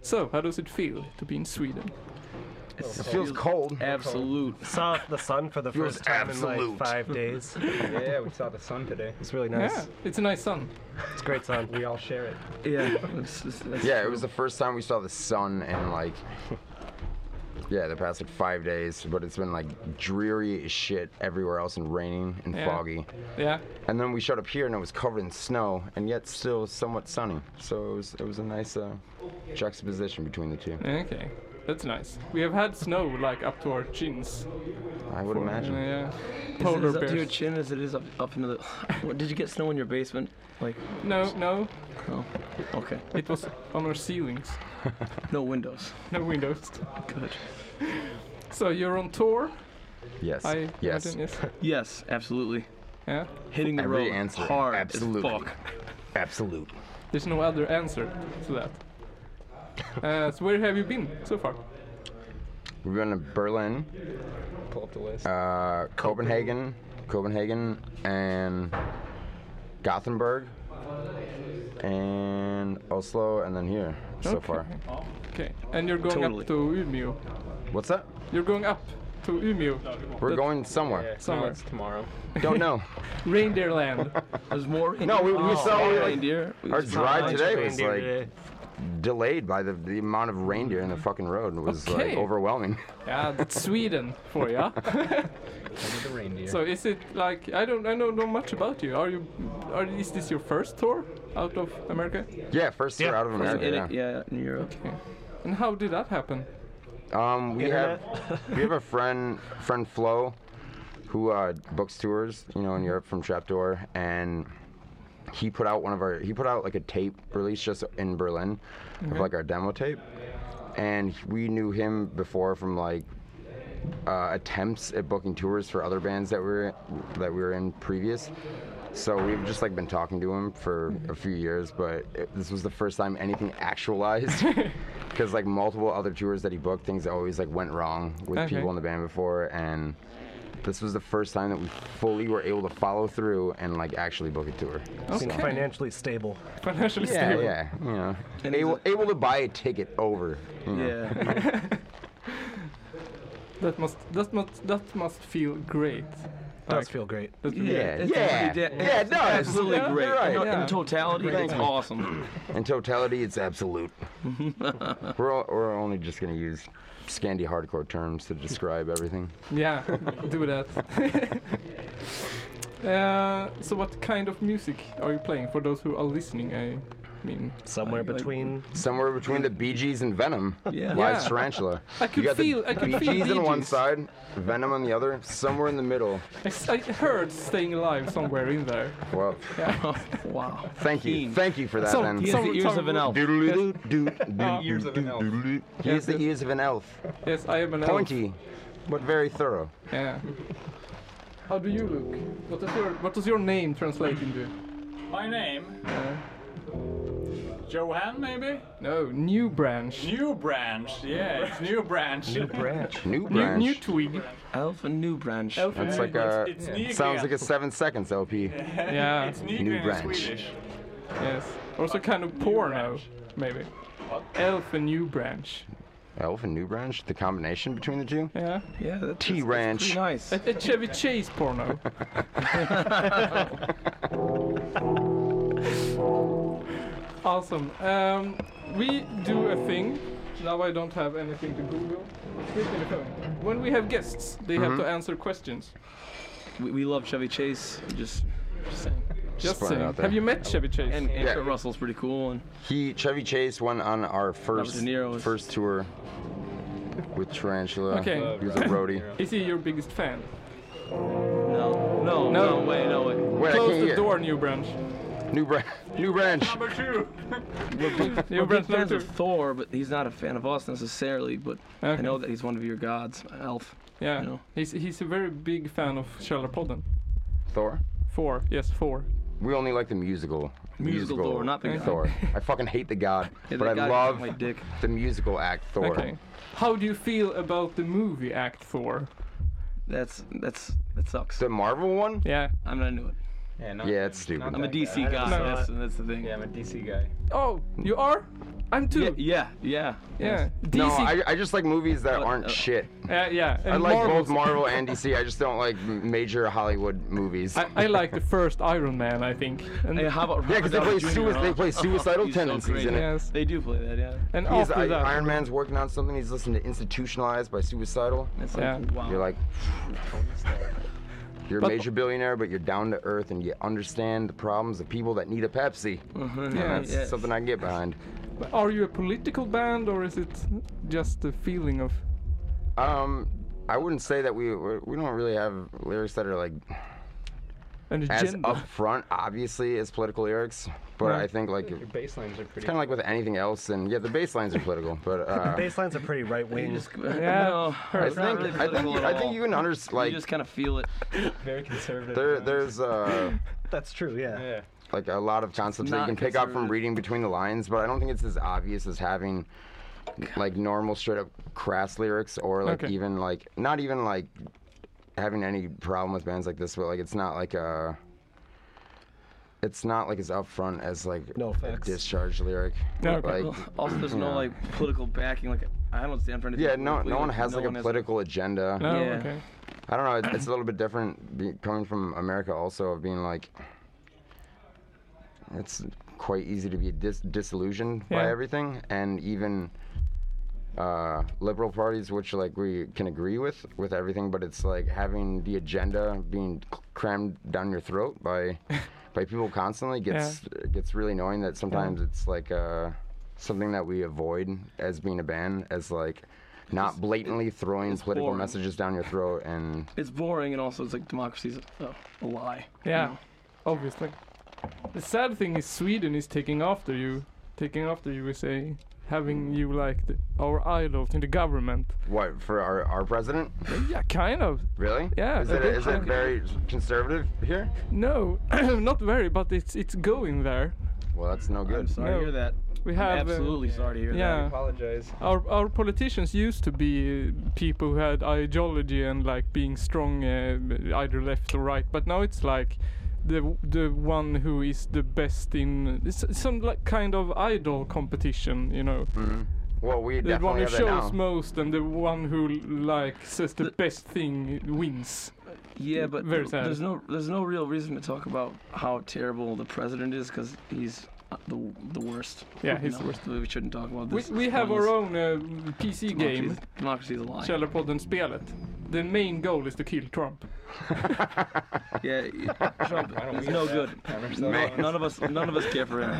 So, how does it feel to be in Sweden?
It feels cold.
Absolute. Saw the sun for the
Feels
first time in
absolute.
like five days.
[laughs] yeah, we saw the sun today. It's really
Yeah, it's a nice sun.
It's great sun. We all share it.
[laughs]
Yeah, it was the first time we saw the sun in like Yeah, the past like five days, but it's been like dreary as shit everywhere else and raining and
Yeah.
foggy.
Yeah.
And then we showed up here and it was covered in snow and yet still somewhat sunny. So it was it was a nice uh, juxtaposition between the two.
Okay, that's nice. We have had snow like up to our chins.
I would
For-
imagine.
Yeah.
Is it
Polar
as up to your
bears.
chin as it is up, up into the. [laughs] What, did you get snow in your basement? Like.
No, no.
Oh, okay.
It was on our
[laughs]
ceilings.
no windows.
No windows.
Good.
[laughs] So you're on tour?
Yes.
I
Yes.
imagine,
[laughs]
yes.
Yes, absolutely.
Yeah.
Hitting the
Every
road
answer,
hard
absolutely.
as fuck.
Absolute.
There's no other answer to
[laughs]
that. Uh, so where have you been so far?
We've been to Berlin,
Pull up the list.
uh, Copenhagen, Copenhagen, and Gothenburg, and Oslo, and then here so
Okay.
far.
Okay. And you're going
Totally.
up to Umeå.
What's that?
You're going up to Umeå.
We're
That-
going somewhere.
Somewhere.
tomorrow.
Don't know.
Reindeer land.
There's more.
No, we, we
Oh,
saw we, like,
reindeer. We
our
saw
ride
lots of
today was
reindeer
like
today.
delayed by the, the amount of reindeer in the fucking road. It was
Okay.
like overwhelming.
Yeah, that's Sweden for
[laughs]
ya. So is it like I don't I don't know much about you. Are you are is this your first tour out of America?
Yeah, first tour out of
First
America.
in-
yeah.
yeah, in Europe.
And how did that happen? [laughs]
Um, we
Internet?
have we have a friend friend Flo, who uh, books tours, you know, in Europe from Trapdoor, and he put out one of our he put out like a tape release just in Berlin of
Okay.
like our demo tape, and we knew him before from like uh, attempts at booking tours for other bands that we were that we were in previous. So we've just like been talking to him for a few years, but it, this was the first time anything actualized. Because like multiple other tours that he booked, things always like went wrong with
Okay.
people in the band before, and this was the first time that we fully were able to follow through and like actually book a tour.
Seems
So-
Financially stable.
Financially
yeah, yeah, you know, able, able to buy a ticket over. You know. [laughs]
Yeah.
That must that must that must feel great.
Does feel great.
That's
Yeah,
really-
it's Yeah. actually de- Yeah, it does. absolutely
Yeah,
great.
you're right.
No, in
Yeah.
totality, it's awesome.
[laughs] In totality, it's
[laughs]
absolute. we're, all, we're only just going to use Scandi hardcore terms to describe everything.
Yeah, [laughs] do that. uh, so, what kind of music are you playing for those who are listening? I mean,
Somewhere
like-
between. Somewhere between the Bee Gees and Venom.
Yeah.
Lies
Yeah.
Tarantula.
I could
you got
feel-
the
I could
Bee
feel
Gees
Bee
on one
Gees.
side, Venom on the other, somewhere in the middle.
I, s- I heard "Staying Alive" somewhere in
[laughs]
[laughs] there.
Well,
Yeah.
wow.
thank you. Thank you for that,
Some-
Ben.
He has the some- ears some- of an elf.
Ears of an elf. He has the ears of an elf.
Yes, I am an elf.
Pointy, but very thorough.
Yeah. How do you look? What does your What does your name translate into?
My name,
Uh,
Johan maybe?
no, new branch.
New branch, yeah, it's new branch.
New branch.
New branch.
new twig.
Elf and new branch.
Elf
It's like a.
It's- it's Nygren.
sounds like a seven seconds [laughs] LP.
Yeah. It's
New
Nygren in
branch.
Swedish. Yes. Also, kind of porno, maybe. Elf and new branch.
Elf and New Branch, the combination between the two?
Yeah.
Yeah, that's
T Ranch.
nice.
A, a Chevy Chase
[laughs]
porno. awesome. Um, we do a thing. Now I don't have anything to Google. Speak in the phone. When we have guests, they have
Mhm.
to
Mm-hmm.
answer questions.
We, we love Chevy Chase. Just, just saying.
Just saying. Have you met Chevy Chase?
And, and
Yeah.
Kurt Russell's pretty cool. And
He Chevy Chase went on our first
De Niro was-
first tour with Tarantula.
Okay.
He was Uh, a roadie.
[laughs] Is he your biggest fan?
no,
No.
no, no, way, no way.
Wait, I
Close
can't
the
hear.
door, New Branch.
New branch. New branch.
Number two.
[laughs]
We're
Branch
big
number
fans
two.
of Thor, but he's not a fan of us necessarily. But I know that he's one of your gods, Elf.
Yeah.
You know.
He's he's a very big fan of Källarpodden.
Thor?
Four. Yes, four.
We only like the musical.
Musical Thor, not the god. [laughs]
Thor. I fucking hate the god,
Yeah,
but
the
I
god
love
got my dick.
the musical act Thor.
Okay. How do you feel about the movie Act Four?
That's that's that sucks.
The Marvel one?
Yeah.
I'm not into it.
Yeah, it's stupid.
I'm a DC guy. That's, that's the thing. Yeah, I'm a DC guy.
Oh, you are? I'm too.
Yeah, yeah, Uh,
yeah.
No, I, I just like movies that aren't shit.
Yeah, Uh, yeah.
I
and
like both
Marvel's-
Marvel and DC. I just don't like m- major Hollywood movies.
I, I like the first Iron Man, I think. And
Hey, how about
[laughs] Yeah, 'cause they
Robert
play
Downey
sui-
Jr.?
they
[laughs]
play suicidal
Oh, He's so
tendencies
great.
in it. Yes.
They do play that, yeah.
And
He's-
after
I-
that-
Iron Man's working on something. He's listening to Institutionalized by Suicidal.
like, Yeah. wow.
You're like, you're a
But-
major billionaire, but you're down to earth and you understand the problems of people that need a Pepsi. And
Mm-hmm. Yeah.
that's
Yes.
something I can get behind.
But Are you a political band or is it just the feeling of?
Um, I wouldn't say that we we we don't really have lyrics that are like
An
as
agenda.
upfront, obviously, as political lyrics. But
Yeah.
I think like
Your bass lines are
it's
pretty.
kind of like with anything else, and yeah, the bass lines are political, but
[laughs]
uh,
bass lines are pretty right wing.
No,
I
it's not
think
really
I think
political
you,
at
I think
all.
you can
You
understand like
just kind of feel it.
[laughs] Very conservative.
there there's uh
That's true. Yeah. Yeah.
like a lot of concepts that you
not
can pick up from reading between the lines, but I don't think it's as obvious as having like normal straight up crass lyrics or like
Okay.
even like not even like having any problem with bands like this, but like it's not like a it's not like as upfront as like
No
a
facts.
discharge lyric.
Well,
[clears throat]
also, there's no
yeah.
like political backing. Like I don't stand for anything.
Yeah, no,
politically,
no one has like
one
a political agenda.
No, Yeah. okay.
I don't know. It's, it's a little bit different be, coming from America, also of being like, it's quite easy to be dis- disillusioned by
Yeah.
everything, and even uh, liberal parties, which like we can agree with with everything, but it's like having the agenda being c- crammed down your throat
[laughs]
by by people constantly gets gets really annoying. That sometimes it's like uh, something that we avoid as being a band, as like not blatantly throwing political
boring.
messages down your throat and
It's boring, and also it's like democracy's a, a lie.
Yeah, obviously. The sad thing is Sweden is taking after you, taking after you is a having you like the, our idol in the government.
What for our, our president?
Yeah, kind of.
Really?
Yeah,
Is
a
it,
bit
is it
like-
very conservative here?
No, [clears throat] not very, but it's it's going there.
Well, that's no good.
sorry to
No.
hear that.
We
I'm
have uh,
absolutely sorry to hear that.
yeah.
I apologize.
Our our politicians used to be uh, people who had ideology and like being strong, uh, either left or right. But now it's like the the one who is the best in it's some like kind of idol competition, you know.
Mm-hmm. Well, we
The one
definitely
who
have that
shows
now.
most and the one who like says the, best thing wins.
Yeah, but
very
th-
sad.
there's no there's no real reason to talk about how terrible the president is because he's uh, the the worst.
Yeah,
You
he's
know,
the worst.
We shouldn't talk about
We,
this.
we have our own uh, PC game,
Democracy's- Democracy's a lie.
Källarpodden-spelet. The main goal is to kill [laughs] Trump.
Yeah,
[laughs]
y- Trump
I don't
is
get
no
that.
good.
I understand.
No,
Man.
none of us none of us care for him.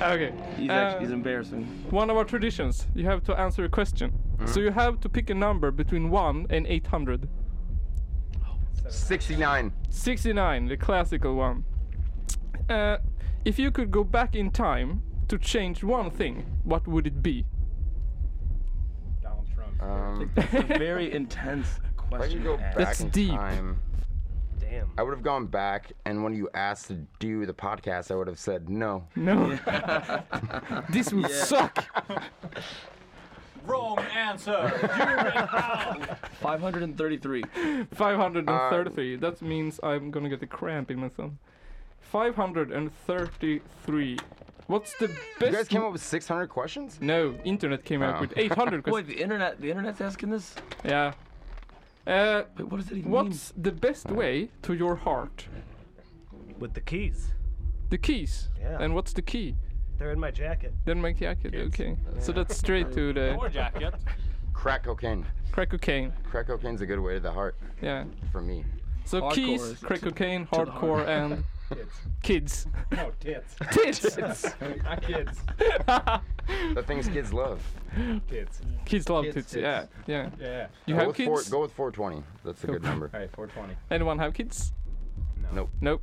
Okay.
He's
uh,
actually, he's embarrassing.
One of our traditions, you have to answer a question.
Mm-hmm.
So you have to pick a number between 1 and 800.
69.
69, the classical one. Uh, if you could go back in time to change one thing, what would it be?
Donald Trump.
Um,
That's a very intense
if I
question.
could go
to
back
ask.
in time,
Damn.
I would have gone back, and when you asked to do the podcast, I would have said no. [laughs]
No. this would
Yeah.
suck.
Wrong answer.
Five hundred and thirty-three.
Um,
533. that means I'm gonna get a cramp in my thumb. 533. What's the
You
best?
guys came up
[laughs]
with 600 questions?
No, internet came up
Oh. [laughs]
with 800
Wait,
questions.
the internet the internet's asking this?
Yeah. Uh,
Wait, what does that even
what's the best way to your heart?
With the keys.
The keys.
Yeah.
And what's the key?
They're in my jacket.
Then my jacket. Okay. So that's straight to the [laughs]
jacket.
Crack cocaine.
crack cocaine.
Crack cocaine's a good way to the heart
Yeah.
for me.
So
Hardcore
keys,
is
crack
to-
cocaine,
to the
hardcore,
heart. [laughs]
and kids.
No, [laughs] tits.
Tits. [laughs]
Not kids.
the things kids love.
Kids.
Kids love
Kids,
tits.
tits.
Yeah. Yeah.
Yeah.
You
go
have
with four-
kids?
go with 420. That's a good number.
All right, 420.
Anyone have kids?
Nope.
Nope.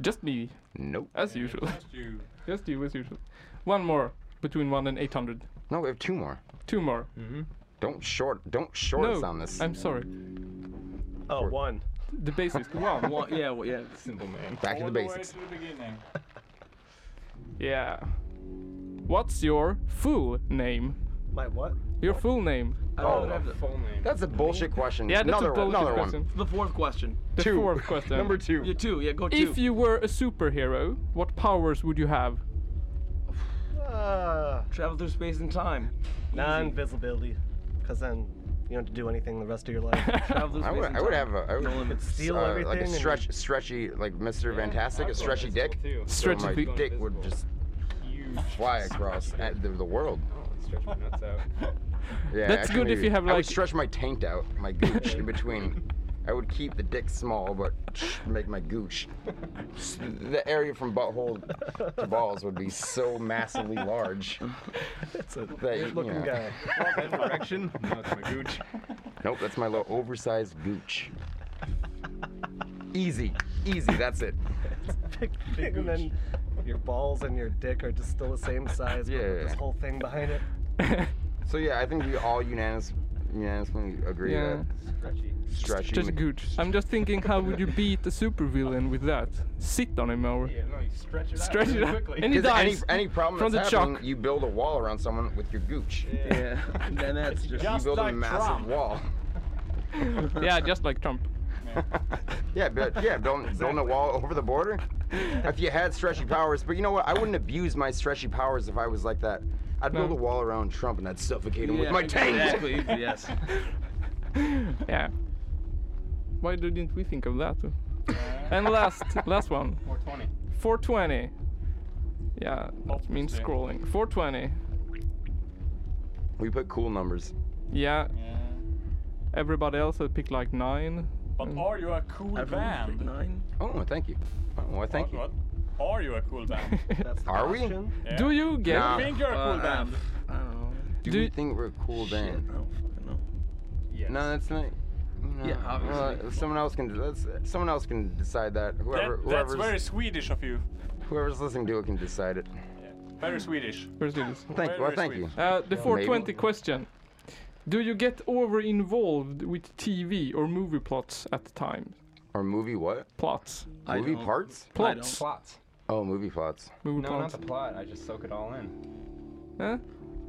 Just me.
Nope.
As usual. Just you. [laughs] Just you, as usual. One more between one and eight hundred.
No, we have two more.
Two more.
Don't short. Don't short
no,
us on this.
I'm sorry.
Oh, one.
The basis. One.
One, yeah, well, yeah.
Simple man.
Back to the
All way
basics.
to the beginning.
Yeah. What's your full name?
My what?
Your full name.
I
Oh.
don't have the full name.
That's a bullshit question.
Yeah, that's a
another one.
bullshit
Another
question.
one.
The fourth question.
The
Two.
fourth
[laughs]
question.
Number two.
Yeah, two. Yeah, go two.
If you were a superhero, what powers would you have?
Travel through space and time. Non-visibility, because then you don't have to do anything the rest of your life. Travel through
I
space
would,
and
I would
time.
have a, I would,
no limits. Steal
uh,
everything.
like a
and-
stretch, stretchy, like Mr. Fantastic, a stretchy dick.
too.
So
Stretchy
my
dick.
dick would just fly across uh, the, the world.
Stretch Oh, my nuts out.
[laughs] Yeah,
That's good if
actually,
you have,
I
like-
would stretch my taint out,
[laughs]
my gooch in between. I would keep the dick small, but make my gooch. s- The area from butthole to balls would be so massively large. That's a
Looking guy.
Direction? [laughs] No, it's my gooch.
Nope, that's my little oversized gooch. easy, easy. That's it.
Big, big, [laughs] and then your balls and your dick are just still the same size, but with
Yeah.
this whole thing behind it.
[laughs] So yeah, I think we all unanimous, unanimously agree
Yeah.
that stretchy, stretchy.
Just good. I'm just thinking, how would you beat a supervillain with that? Sit on him or
Yeah, no, you stretch it out.
Stretch
really
it out.
quickly.
And he
'Cause
dies
Any, any problem
from
that's
the
happening,
chalk.
you build a wall around someone with your gooch.
Yeah, and then that's
just, you build a massive wall.
[laughs] yeah, just like Trump.
Yeah, but yeah, building, building a wall over the border. If you had stretchy powers, but you know what? I wouldn't abuse my stretchy powers if I was like that. I'd build a wall around Trump and I'd suffocate him with
Yeah,
my tank.
exactly,
[laughs]
yes.
Yeah. Why didn't we think of that?
Uh,
and last, last one.
420.
420. Yeah, that means
yeah.
scrolling. 420.
We put cool numbers.
Yeah. Everybody else had picked like nine.
But
Mm.
are you a cool band?
Oh, thank you. Oh, well, thank you.
What? Are you a cool band?
Are we?
Yeah.
Do you
Do
get?
Nah.
you think you're a cool
Uh,
band?
Do, you think we're a cool band? No, that's not. No,
Yeah,
no,
obviously.
someone else can. That's, someone else can decide that. Whoever,
That- that's
whoever's,
very Swedish of you.
whoever's listening to it can decide it.
Very Swedish.
Where's this?
Thank, well,
Very
thank
sweet.
you.
Uh, the
Well,
420
maybe.
question. Do you get over involved with TV or movie plots at times?
Or movie what?
Plots.
I
movie
don't-
parts?
I don't. Plots.
Plots.
Oh, movie plots.
Movie
No, not
plots.
the plot. I just soak it all in.
Huh?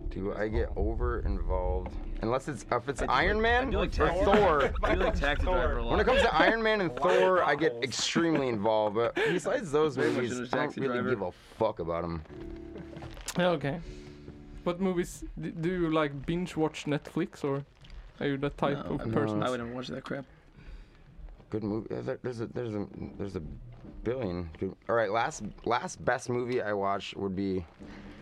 Do I get over involved? Unless it's if it's
I do
Iron
like-
Man
I do like
or
Taxi
Thor.
[laughs] Driver. I do like Taxi Driver a lot.
When it comes to Iron
[laughs]
[laughs]
Man and
Why
Thor,
are
I get extremely involved. But besides those
Very much
movies,
into
I don't
Taxi
really
Driver.
give a fuck about them.
Yeah, okay. What movies d- do you like? Binge watch Netflix or are you that type
No,
of
I mean,
person?
I would never watch that crap.
Good movie. uh, there- There's a there's a there's a billion. Good. All right, last last best movie I watched would be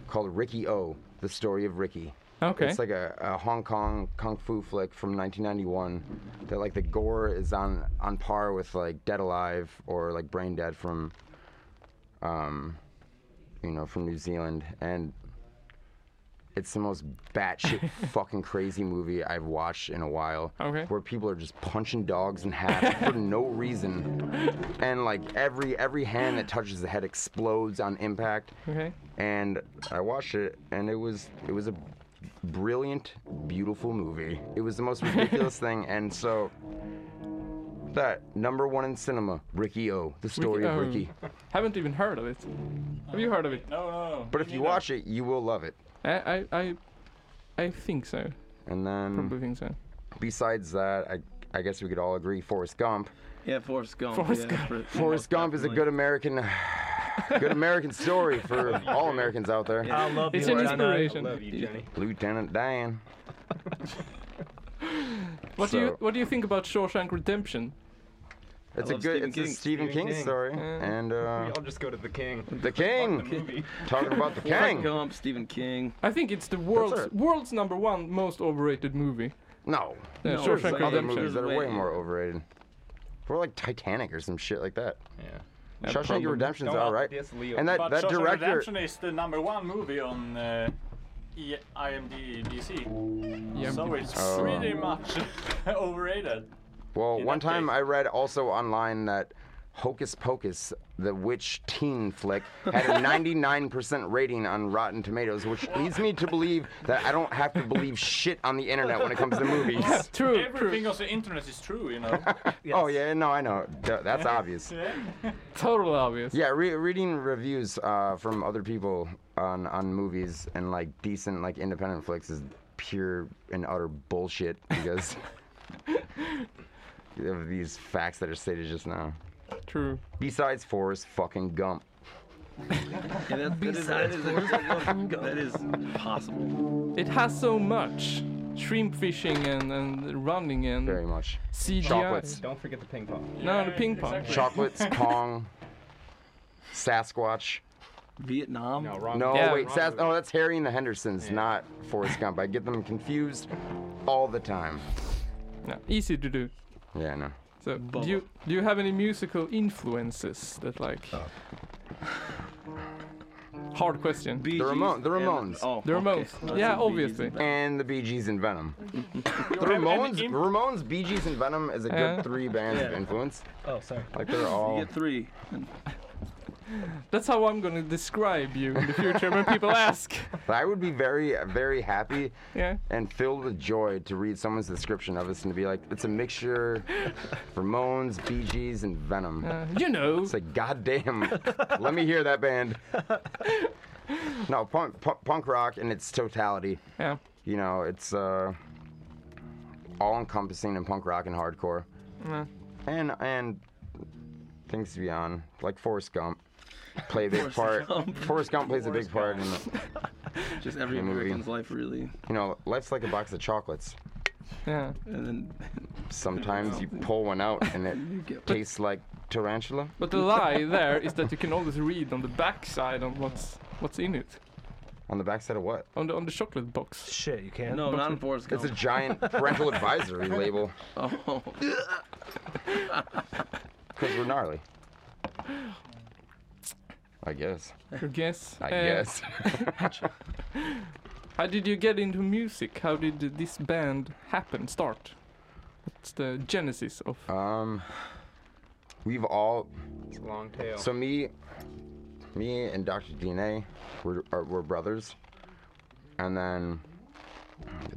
called Ricky O: The Story of Ricky.
Okay.
It's like a, a Hong Kong kung fu flick from 1991 that like the gore is on on par with like Dead Alive or like Brain Dead from um you know from New Zealand and it's the most
[laughs]
batshit fucking crazy movie I've watched in a while.
Okay.
Where people are just punching dogs in half for no reason, and like every every hand that touches the head explodes on impact.
Okay.
And I watched it, and it was it was a brilliant, beautiful movie. It was the most
[laughs]
ridiculous thing, and so. That number one in cinema, Ricky O, the story
Ricky-
of
oh,
Ricky.
Haven't even heard of it. Have you heard of it?
No, no, no.
But if you watch it, you will love it.
I I I, I think so.
And then
Probably think so.
besides that, I, I guess we could all agree Forrest Gump.
Yeah, Forrest Gump.
Oh, Forrest
yeah,
Gump.
for- [laughs]
Forrest Gump is a good American, [sighs] good American story for all Americans out there.
I love
It's
you,
an
Lana.
inspiration.
I love you, Jenny.
Lieutenant Dan.
What do you
So-
what do you think about Shawshank Redemption?
It's a
love
good,
Stephen
it's a
King.
Stephen
Stephen
King,
King.
story,
Yeah.
and
We
uh,
all just go to the king.
the King.
Movie.
Talking about the
Forrest
King.
Gump, Stephen King.
I think it's the world's
it.
world's number one most overrated movie.
No,
Yeah,
No,
Shawshank
it's like-
other
Redemption.
movies that are way
Way-
more overrated. We're like Titanic or some shit like that.
Yeah.
Yeah,
Shawshank
probably.
Redemption's
Don't
all right,
diss Leo.
and that
but
that
Shawshank
director.
Redemption is the number one movie on uh, e- IMDb. So
IMDb.
it's
Oh.
pretty much [laughs] overrated.
Well,
In
one
that
time
case-
I read also online that Hocus Pocus, the witch teen flick,
[laughs]
had a 99% rating on Rotten Tomatoes, which leads me to believe that I don't have to believe shit on the internet when it comes to [laughs] movies.
[laughs] True,
[laughs]
Everything [laughs] on the internet is true, you know.
Oh [laughs] yeah, no, I know. Th-
[laughs]
That's obvious.
[laughs] total obvious.
Yeah, re- reading reviews uh, from other people on on movies and like decent like independent flicks is pure and utter bullshit
[laughs]
because of these facts that are stated just now.
True.
Besides Forrest fucking Gump.
Yeah, that, that, is, that, is, [laughs] that is possible.
It has so much shrimp fishing and, and running and very
much
CGI.
Chocolates.
Don't forget the ping pong.
No, the ping pong.
Chocolates, Pong, Sasquatch.
Vietnam.
No,
wrong-
no
Yeah.
wait,
wrong
Sas- oh, that's Harry and the Hendersons, not Forrest Gump. I get them confused all the time.
No, easy to do.
Yeah, I know.
So, do you do you have any musical influences that like?
Oh.
Hard question.
The, Ramon- the Ramones.
the Ramones. Yeah, obviously.
And the Bee Gees [laughs] and
[laughs]
Venom. the Ramones, Ramones, Bee Gees and Venom is a good
Yeah.
three bands of
Yeah.
influence.
Oh, sorry.
Like they're all.
You get three.
That's how I'm gonna describe you in the future when
[laughs]
people ask.
I would be very, very happy
Yeah.
and filled with joy to read someone's description of us and to be like, it's a mixture Ramones, Bee Gees, and Venom.
Uh, you know.
It's like, goddamn, let me hear that
[laughs]
band. No, punk, punk, punk rock in its totality.
Yeah.
You know, it's uh, all encompassing in punk rock and hardcore.
Yeah.
And, and things beyond, like Forrest Gump. Play a big part.
Forrest Gump.
Forrest Gump plays
Forrest
a big part in
Gump.
it.
[laughs] Just every
The movie.
American's life, really.
You know, life's like a box of chocolates.
Yeah.
And then
Sometimes you pull one out
[laughs]
and it tastes like tarantula.
But the lie there is that you can always read on the backside on what's what's in it.
On the backside of what?
On the on the chocolate box.
Shit, you
can't. [laughs] No, not in Forrest
It's a
[laughs]
giant parental advisory label. [laughs]
Oh.
Because we're gnarly. I guess.
I guess.
I
eh,
guess.
[laughs] how did you get into music? How did this band happen? Start. What's the genesis of?
Um, we've all.
It's a long tail.
So me, me and Dr. DNA, we're, are, we're brothers, and then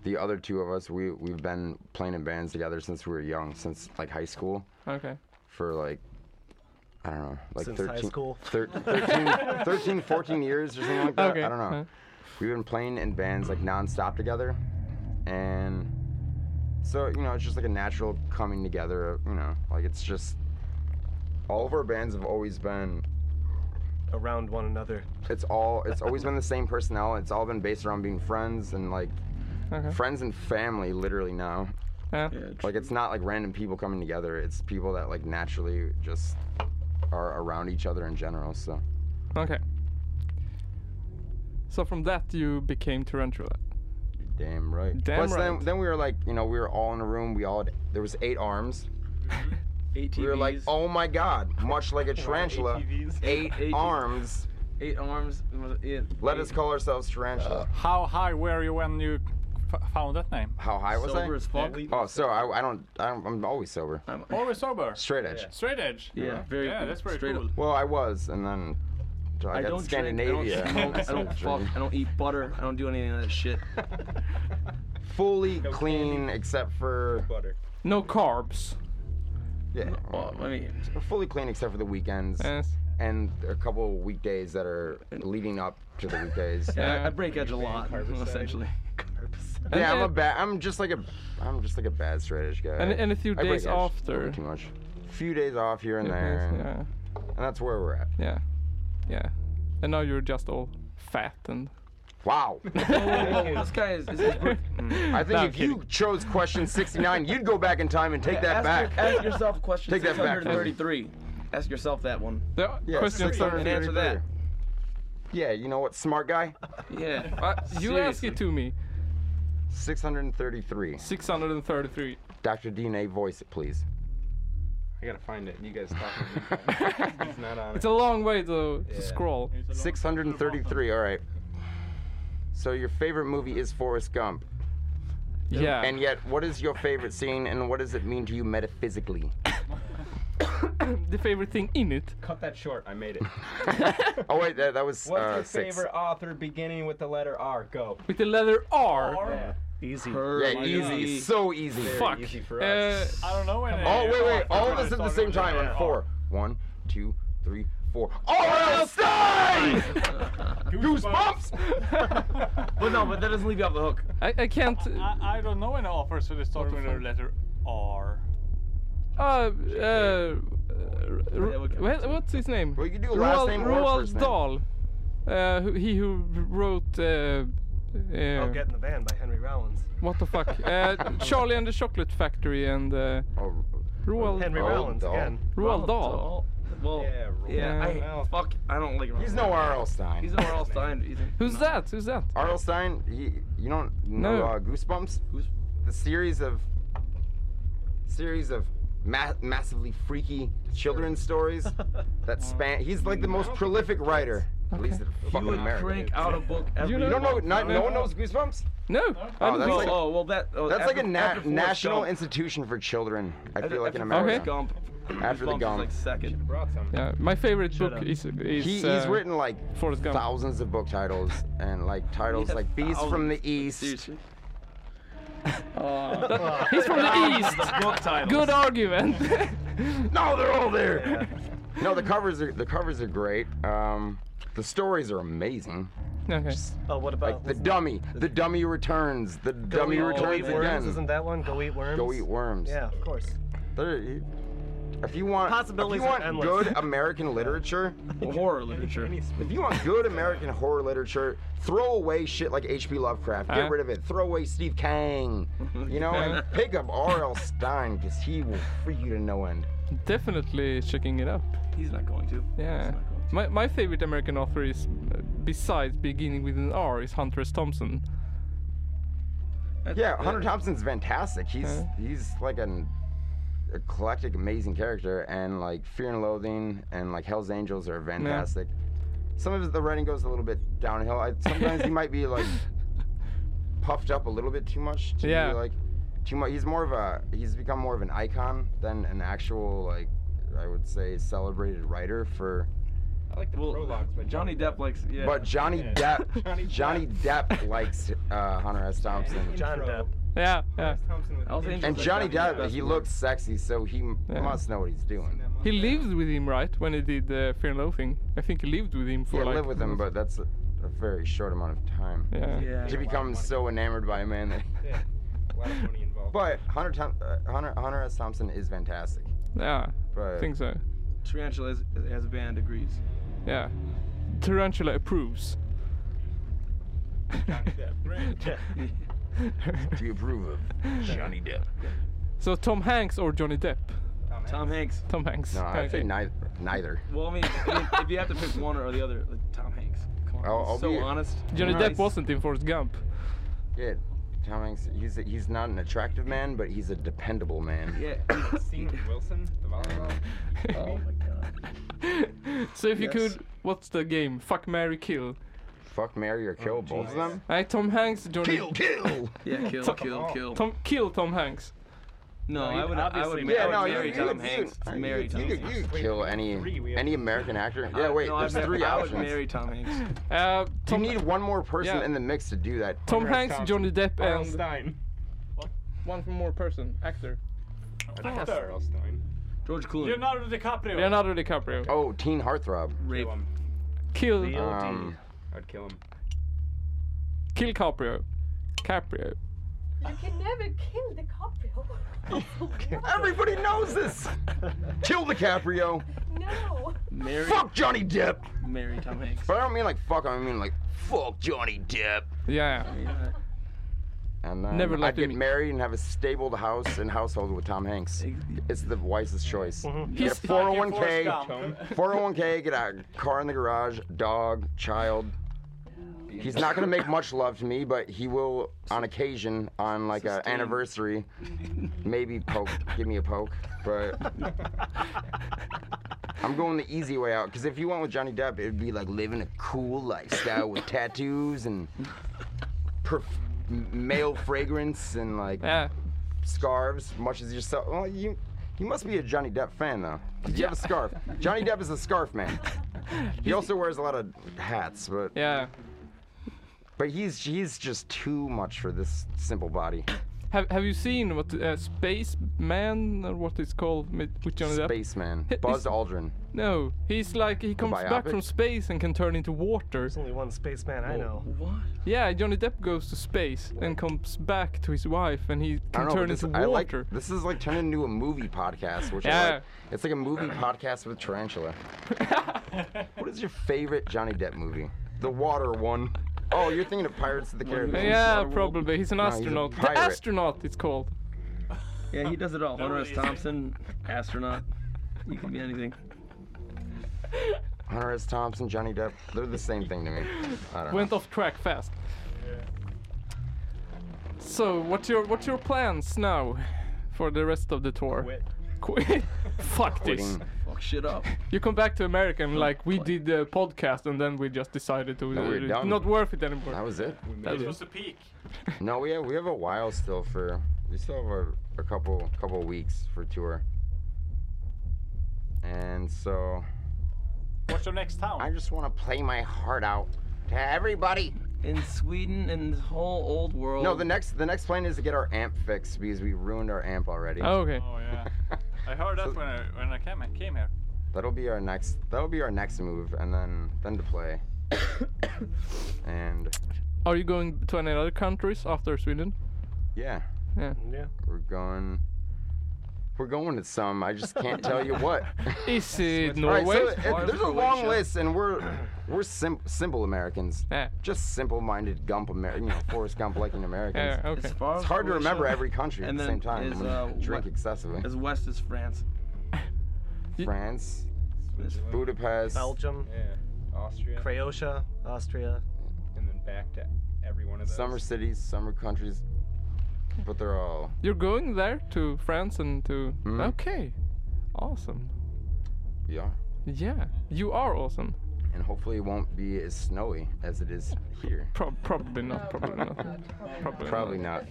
the other two of us, we we've been playing in bands together since we were young, since like high school.
Okay.
For like. I don't know, like
Since high
13,
school.
thir-
[laughs]
13, 13, 14 years or something like that.
Okay,
I don't know.
huh.
We've been playing in bands like nonstop together, and so you know, it's just like a natural coming together. Of, you know, like it's just all of our bands have always been
around one another.
It's all it's always been the same personnel. It's all been based around being friends and like
Uh-huh.
friends and family, literally now.
Yeah.
Like it's not like random people coming together. It's people that like naturally just are around each other in general. So
Okay. So from that you became Tarantula.
damn right.
Damn
Plus then,
right.
then we were like, you know, we were all in a room. We all had, there was eight arms. [laughs]
Eight
We were like,
TVs.
oh my god, much like a tarantula,
ATVs.
eight
Eight-
arms.
Eight arms. Yeah.
Let us call ourselves tarantula.
How high were you when you f- found that name?
How high was I?
Uh, Sober as fuck. Yeah.
Oh, so I, I don't, I don't, I'm always sober.
Always sober.
Straight edge.
Straight edge.
Yeah,
very. Yeah, that's pretty cool.
Well, I was, and then so I,
I
got
don't drink. I don't
Scandinavia.
smoke. I
[laughs]
don't fuck. I don't eat butter. I don't do any of that shit.
Fully clean except for butter.
No carbs.
Yeah.
Well, I mean,
fully clean except for the weekends and a couple of weekdays that are leading up to the
[laughs]
weekdays.
Yeah, I, I break edge a lot,
[laughs]
essentially.
Yeah,
[laughs]
I'm a bad. I'm just like a. [laughs] I'm just like a bad straight edge guy.
And- and a few
I break
days
edge a little
after.
Too much. Few days off here and
Yeah,
there. And,
yeah.
and that's where we're at.
Yeah. Yeah. And now you're just all fat and.
Wow.
this guy is. Mm.
[laughs]
is
I think
No, I'm
if you chose question 69, you'd go back in time and take that
ask
back.
your- ask yourself
[laughs]
question
Take that back. from me.
633. Ask yourself that one.
The
Yeah, question
and answer that.
633. Yeah, you know what, smart guy?
Yeah.
[laughs] Uh, you ask it to me.
633.
633.
Dr. DNA, voice it,
[laughs]
please.
I gotta find it. You guys talk.
[laughs]
it's not on
It's
it.
a long way to, to scroll.
633, all right. So your favorite movie is Forrest Gump.
Yeah.
And yet, what is your favorite scene and what does it mean to you
[laughs]
metaphysically?
the favorite thing in it.
Cut that short. I made it.
oh, wait, that, that was
What's
uh,
your
six.
favorite author beginning with the letter R? Go.
[laughs] With the letter R.
Yeah.
Easy.
Yeah, easy. So easy.
Very
Fuck.
easy for
Uh,
us.
I don't know when.
Oh, wait, wait. All of
this
us at the same time on four. One, two, three, four. Oh!
[laughs] Einstein!
Goosebumps!
But no, but that doesn't leave you off the hook.
I, I can't.
I, I don't know any offers for the start with the letter R.
Uh, uh, What, what's his name?
Well, you can do
Roald,
last name or first
Roald
name.
Dahl. Uh, who, he who wrote. Uh, uh,
Oh, Get in the Van by Henry Rollins.
What the fuck? Uh, Charlie and the Chocolate Factory and. Uh,
Oh,
Roald
Henry Rollins again.
Roald Dahl.
Well, yeah,
Yeah.
I, fuck, I don't like.
He's no R.L. Stine.
He's no R.L. Stein. He's a-
Who's that? Who's that?
R.L. Stein, he, you don't know
No.
uh, Goosebumps? The series of series of ma- massively freaky children's stories that span. He's like the most prolific writer. At least in fucking
would
America.
crank out a book every.
You don't know? Not, no one knows Goosebumps? I
No.
don't that's think like- so.
oh well, that. Oh,
That's
after,
like a na-
after Forrest
national
Gump,
institution for children. I
After-
feel like
after
in
Forrest
America.
Gump,
After the
Goosebumps is
gum.
like second.
Yeah, my favorite book
up.
is. is
he,
uh,
he's
[laughs]
written [laughs] like
Forrest Gump.
thousands of book titles and like titles
Yeah,
like Beast from the
thousands.
East.
[laughs] That- he's from
[laughs]
the East. Oh, Good argument.
no, they're all there. No, the covers are the covers are great. Um, the stories are amazing.
Okay.
Oh, what about
Like the dummy, the dummy returns, the
Go
dummy
Eat- Go
returns
Eat Worms? Isn't
again.
that one? Go Eat Worms?
Go eat worms.
Yeah, of course.
There- you- if you want,
Possibilities
if you
are
want
endless. [laughs]
good American literature,
[laughs] horror literature.
If you want good American horror literature, throw away shit like H.P. Lovecraft. Get
Uh-huh.
rid of it. Throw away Steve
[laughs]
Kang. You know, and pick up R.L. Stein because he will freak you to no end.
Definitely checking it up.
He's not going to.
Yeah. My, my favorite American author is, uh, besides beginning with an R, is Hunter S. Thompson.
Yeah, Hunter Thompson's fantastic. He's he's like an eclectic, amazing character, and like Fear and Loathing and like Hell's Angels are fantastic. Some of the writing goes a little bit downhill. I, sometimes he might be like puffed up a little bit too much. To be,
Yeah.
like too much. He's more of a he's become more of an icon than an actual like I would say celebrated writer for.
I like the prologues, but Johnny Depp likes. Yeah.
But Johnny
[laughs]
Depp, Johnny, Depp likes uh, Hunter S. Thompson.
John Depp.
Yeah, yeah.
And Johnny Depp, he looks sexy, so he m must know what he's doing.
He lived with him, right? When he did uh, Fear and Loathing. I think he lived with him for
Yeah,
like.
live with him, but that's a, a very short amount of time.
Yeah.
Yeah.
To become so enamored by a man that. but Hunter, Tom, uh, Hunter, Hunter S. Thompson is fantastic.
Yeah.
But
think so.
Tarantula has, has a band
[laughs]
agrees.
Yeah. Tarantula approves.
Do you approve of Johnny Depp?
So Tom Hanks or Johnny Depp?
Tom Hanks.
Tom Hanks.
No, I
Okay.
think neither. Neither.
Well, I mean, I mean, if you have to pick one or the other, like Tom Hanks. Come on.
I'll-
he's
I'll
so
be-
honest.
Johnny
Nice.
Depp wasn't in Forrest Gump.
Yeah, Tom Hanks. He's a, he's not an attractive man, but he's a dependable man.
[laughs]
Yeah.
Scene with Wilson, the volleyball.
Oh my god.
[laughs] So if you
Yes.
could, what's the game? Fuck, Mary kill.
Fuck, marry, or kill both of them.
Hey, Tom Hanks, Johnny.
Kill, kill.
Oh, Yeah, kill,
Tom-
kill, kill.
Tom, kill Tom Hanks.
Oh. No, I would. I would.
yeah,
I
no,
would
you-
marry
you,
Tom
you,
Hanks.
You,
marry
you,
Tom
could-
Hanks.
you could kill any any American actor.
I-
Yeah, wait,
no, I've
there's
never-
three
I would
options.
marry Tom
[laughs]
Hanks.
Uh, Tom,
you need one more person
yeah.
in the mix to do that.
Tom Hanks, Johnny Depp,
Earl
and
Stein.
one more person, actor.
Earl Stein.
George Clooney.
Leonardo DiCaprio.
Leonardo DiCaprio.
Oh, teen heartthrob.
Rape.
Kill him.
Kill,
Um,
I'd kill him.
kill Caprio. Caprio.
You can never kill the [laughs] DiCaprio.
everybody knows this. Kill DiCaprio.
no.
Marry.
Fuck Johnny Depp.
Marry Tom Hanks.
But I don't mean like fuck. I mean like fuck Johnny Depp.
Yeah.
And then
Never let
I'd get
him-
married and have a stabled house and household with Tom Hanks. It's the wisest choice. Get oh
He's-
a
Forrest Gump.
401k, 401k, get a car in the garage, dog, child. He's not gonna
[laughs]
make much love to me, but he will, on occasion, on like an anniversary, maybe poke, give me a poke. But I'm going the easy way out, because if you went with Johnny Depp, it'd be like living a cool lifestyle with tattoos and perf- m- male fragrance and like
Yeah.
scarves, much as yourself. Well, you you must be a Johnny Depp fan though. 'cause You have a
[laughs]
scarf. Johnny Depp is a scarf man. He also wears a lot of hats, but
Yeah. [coughs]
but he's he's just too much for this simple body.
Have Have you seen what uh, Spaceman or what it's called with with Johnny Depp?
Spaceman.
He-
Buzz
he's-
Aldrin.
No, he's like he comes back
biopic?
from space and can turn into water. There's
only one spaceman I know.
What?
Yeah, Johnny Depp goes to space and comes back to his wife, and he
I
can
don't know,
turn
but this,
into
I
water.
like, this is like turning into a movie podcast, which I
Yeah.
like. It's like a movie podcast with
[laughs]
Tarantula. what is your favorite Johnny Depp movie? The water one. Oh, you're thinking of Pirates of the Caribbean.
Yeah, probably. He's an
No,
astronaut.
He's a
the
pirate.
astronaut, it's called.
Yeah, he does it all. Hunter S.
Nobody's-
Thompson, astronaut. You can be anything.
Hunter S. Thompson, Johnny Depp, they're the same thing to me. I don't know.
Went off track fast. So, what's your what's your plans now for the rest of the tour? Quit. [laughs] Fuck this.
Quitting.
[laughs] Fuck shit up.
You come back to America and like we did the podcast and then we just decided to uh,
No, we're done.
not worth it anymore.
That was it.
That
This
was-
was the peak.
No, we have we have a while still for we still have a, a couple couple weeks for tour. And so
What's your next town?
I just want to play my heart out to everybody.
In Sweden and the whole old world.
No, the next the next plan is to get our amp fixed because we ruined our amp already.
Oh
[laughs]
yeah. I heard that when I when I came came here.
That'll be our next that'll be our next move and then then
[coughs]
to play. and
Are you going to any other countries after Sweden?
yeah.
Yeah.
Yeah.
We're going we're going to some. I just can't tell you what.
[laughs]
[laughs]
Is it
Alright,
Norway?
so it, there's a long list, and we're we're sim- simple Americans. Just simple-minded Gump Amer- you know, Forrest Gump-liking Americans.
Yeah, okay. As far
It's
as
hard to
Croatia,
remember every country at
and
the
then
same time.
is,
when you
uh,
drink
we-
excessively.
As west as France.
France,
Switzerland.
Budapest.
Belgium,
Yeah. Austria.
Croatia, Austria.
And then back to every one of those.
Summer cities, summer countries, but they're all.
You're going there to France and to
Mhm.
Okay. Awesome.
We are.
Yeah. You are awesome.
And hopefully it won't be as snowy as it is here.
Pro- probably not, probably not. Probably,
Probably not.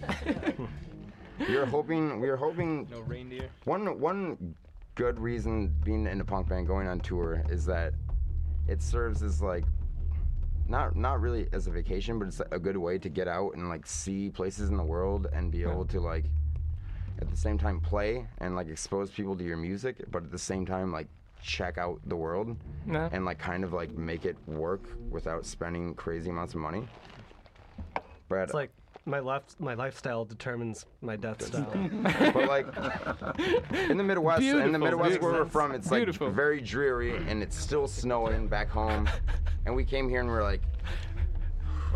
[laughs]
we are hoping. We are hoping.
No reindeer.
One one good reason being in a punk band going on tour is that it serves as like not not really as a vacation, but it's a good way to get out and like see places in the world and be able to like at the same time play and like expose people to your music, but at the same time like check out the world
Yeah.
and like kind of like make it work without spending crazy amounts of money. But
It's like my left, my lifestyle determines my death [laughs] style.
[laughs] but like in the Midwest, in
Beautiful,
the Midwest where we're
beautiful.
from, it's like
Beautiful.
very dreary and it's still snowing back home. And we came here and we are like,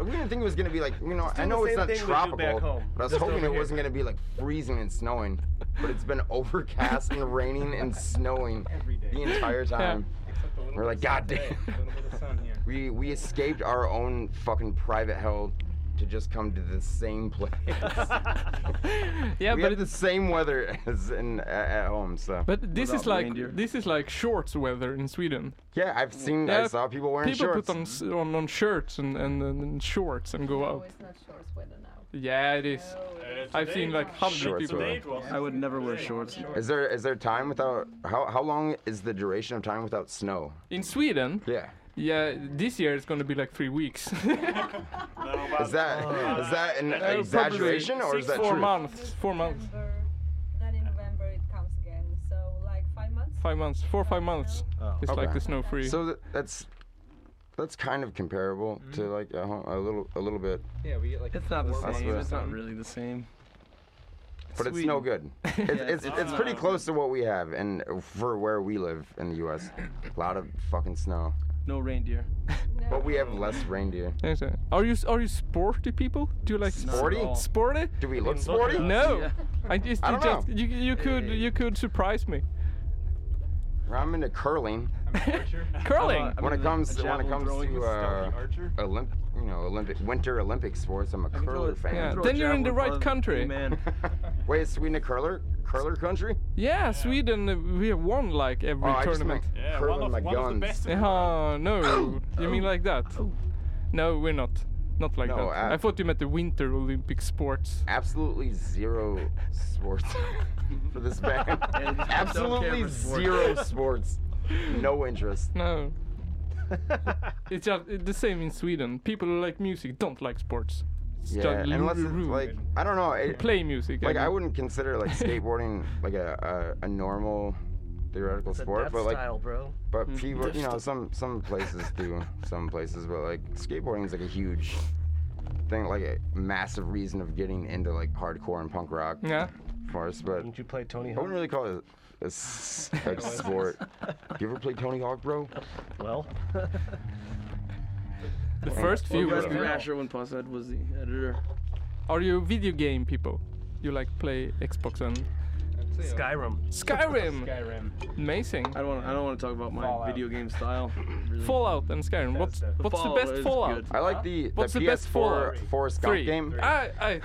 we didn't think it was gonna be like, you know,
Just
I
doing
know
the
it's
same
not
thing we do back
tropical,
home,
but I was
just
hoping
over
it
here.
wasn't gonna be like freezing and snowing. But it's been overcast and raining and snowing the entire
Yeah.
time. We're like, God damn.
The sun here.
We we escaped our own fucking private hell to just come to the same place. [laughs]
yeah,
we
but
have the same weather [laughs] as in a- at home. So,
But this is like this is like shorts weather in Sweden.
Yeah, I've seen. I saw people wearing
people
shorts.
put on, s- on on shirts and, and, and, and shorts and go out.
It's not shorts weather now.
Yeah, it is. I've seen like hundred
Shorts
people.
weather. Today it
I would never wear shorts.
Is there is there time without how how long is the duration of time without snow?
In Sweden.
Yeah.
Yeah, this year it's gonna be like three weeks. [laughs]
Is that is that an exaggeration or is that
four
true?
months? Four months.
Then in November it comes again. So like five months.
Five months. Four or five months.
Oh.
It's like
Okay.
the snow free.
So th- that's that's kind of comparable
Mm-hmm.
to like a, ho- a little a little bit,
Yeah, we get like.
It's not the
That's
same.
what-
It's not really the same.
but it's no
Sweden. [laughs]
good. It's it's,
it's-
it's pretty close to what we have and for where we live in the U.S. A lot of fucking snow,
No reindeer.
but we have less reindeer.
Yes, uh, Are you s- are you sporty people? Do you like
Sporty?
s- Sporty?
Do we look sporty?
No.
Yeah.
I just,
I
you,
don't
just
know.
you, you could you could surprise me.
I'm into curling.
[laughs] Curling.
when it comes when it
javelin
comes
throwing
to
with
uh,
stealthy archer.
Olymp, you know, Olympic winter Olympic sports, I'm a curler fan.
yeah, Throw a then you're in the javelin right for the country.
man.
[laughs] Wait, is Sweden a curler curler country?
Yeah, Sweden. uh, We have won like every
Oh, I just
tournament.
meant Yeah, curling one of- my one of the guns. best Oh. in
Uh, no, you mean like that? No, we're not. Not like
No,
that.
I-
I thought you meant the Winter Olympic sports.
Absolutely zero
[laughs]
sports for this band. Absolutely
camera sports. [laughs]
zero sports. No interest. [laughs]
No. it's just it's the same in Sweden. People who like music don't like sports.
Yeah,
Start
unless it's
loo-
like I don't know. It,
Play music, I
Like I
mean.
wouldn't consider
[laughs]
like skateboarding like a, a, a normal theoretical
It's a
sport,
death
but like
style, bro.
but
Mm-hmm.
Mm.
people,
Death
you know,
style.
some some places
[laughs]
do, some places, but like skateboarding is like a huge thing, like a massive reason of getting into like hardcore and punk rock.
Yeah.
For us, but
Didn't you play Tony
I
Hawk?
wouldn't really call it a, s-
[laughs]
a sport. you ever play Tony Hawk, bro?
Well. [laughs]
The first few
Well,
were
Rusty Rasher when Puss Ed was the editor.
Are you video game people? You like play Xbox and
Skyrim.
Skyrim.
Skyrim.
Amazing.
I don't. wanna- I don't want to talk about my
Fallout.
video game style. really.
Fallout and Skyrim. What's
Bethesda.
what's the
Fallout
best
is
Fallout?
good.
I like the,
What's
the,
the best
PS4
Fallout?
4 Scout
Three.
game.
I I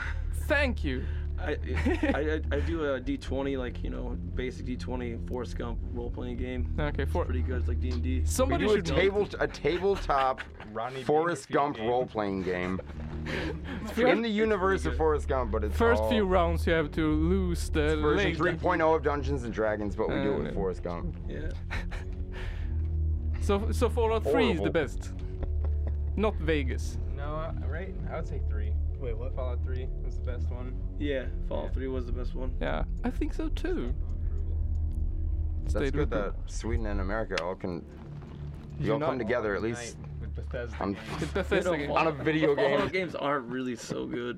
thank you.
I, I, I I do a D20 like you know basic D20 Forrest Gump role playing game.
Okay, for
pretty good. It's like D and D.
we do a table
[laughs]
a tabletop Forrest Gump role playing game. In the universe of Forrest Gump, but it's
First
all
few rounds you have to lose the
version
leg.
3.0 of Dungeons and Dragons, but we do it
Uh,
with Forrest Gump.
Yeah.
[laughs] So so Fallout 3 is the
Horrible.
best. Not Vegas.
No, right? I would say three. Wait, what? Fallout 3 was the best one.
Yeah, Fallout 3 was the best one.
Yeah, I think so
[laughs]
too.
That's
Stayed
good
with
that Sweden and America all can you all
Unite.
come together at least
With Bethesda.
on,
[laughs]
[laughs]
You know,
on a
Fallout-
video game.
Fallout games are really so
[laughs]
good.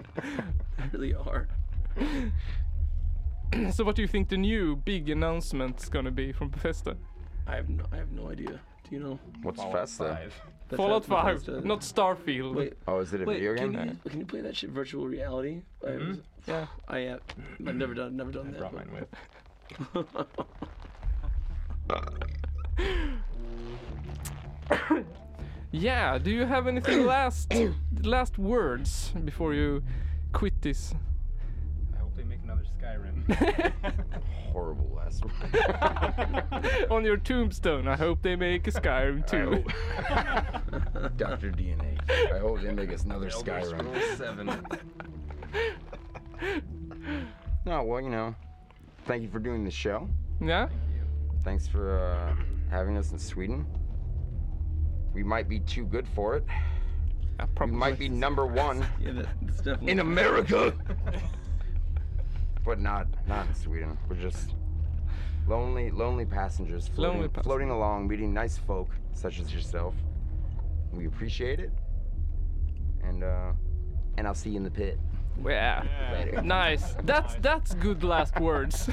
They really are.
[clears throat] so what do you think the new big announcement's gonna be from Bethesda?
I have no I have no idea. Do you know?
What's Fallout Bethesda? 5.
Bethesda-
Fallout 5,
Bethesda-
not Starfield.
Wait,
Oh, is it a
wait,
video game?
Can you, can you play that shit virtual reality? I was- [sighs]
yeah.
I have. I've never done. Never done that. Brought mine with. [laughs]
Yeah, do you have anything
[coughs]
last last words before you quit this?
I hope they make another Skyrim.
[laughs] Horrible
[laughs]
[laughs]
last
On your tombstone, I hope they make a Skyrim too.
[laughs]
Dr. DNA. I hope they make us another
Elder
Skyrim.
Scrolls 7.
No, Oh, well, you know, thank you for doing the show.
Yeah?
Thanks for uh, having us in Sweden. We might be too good for it. we might be number one
[laughs] Yeah, that, that's definitely.
in
[laughs]
America, but not not in Sweden. We're just lonely, lonely passengers floating,
Lonely passengers.
floating along, meeting nice folk such as yourself. We appreciate it, and uh, and I'll see you in the pit.
Yeah.
[laughs]
Later.
Nice. That's that's good last words.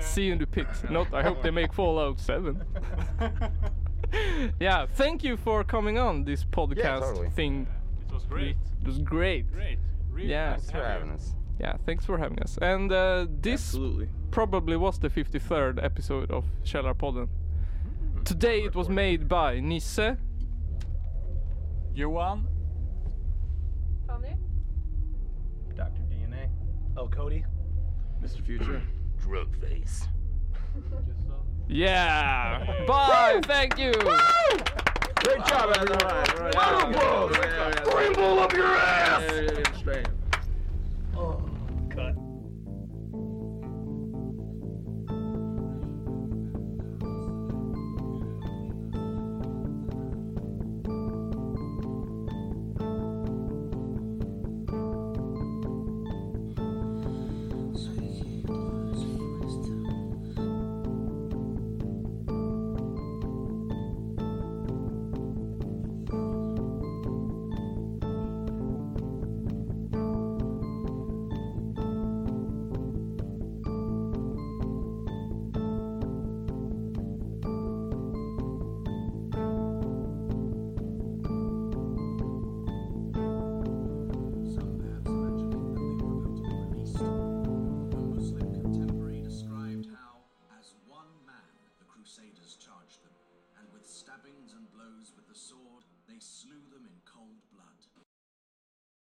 See you in the pit. Not I hope they make
[laughs]
Fallout 7. yeah, thank you for coming on this podcast
totally.
thing.
It was great.
It was great.
Great. Really
Yeah.
nice
Thanks for
having you.
having us.
Yeah, thanks for having us. And uh, this
Absolutely.
probably was the 53rd episode of Källarpodden.
Hmm.
Today it was made by Nisse,
Johan,
Fanny?
Dr. DNA.
Oh, Cody.
Mr. Future.
Drug face.
Yeah. Bye. Thank you.
Great job, everyone. Wonderful. Scramble up your ass.
Yeah, yeah, yeah, straight.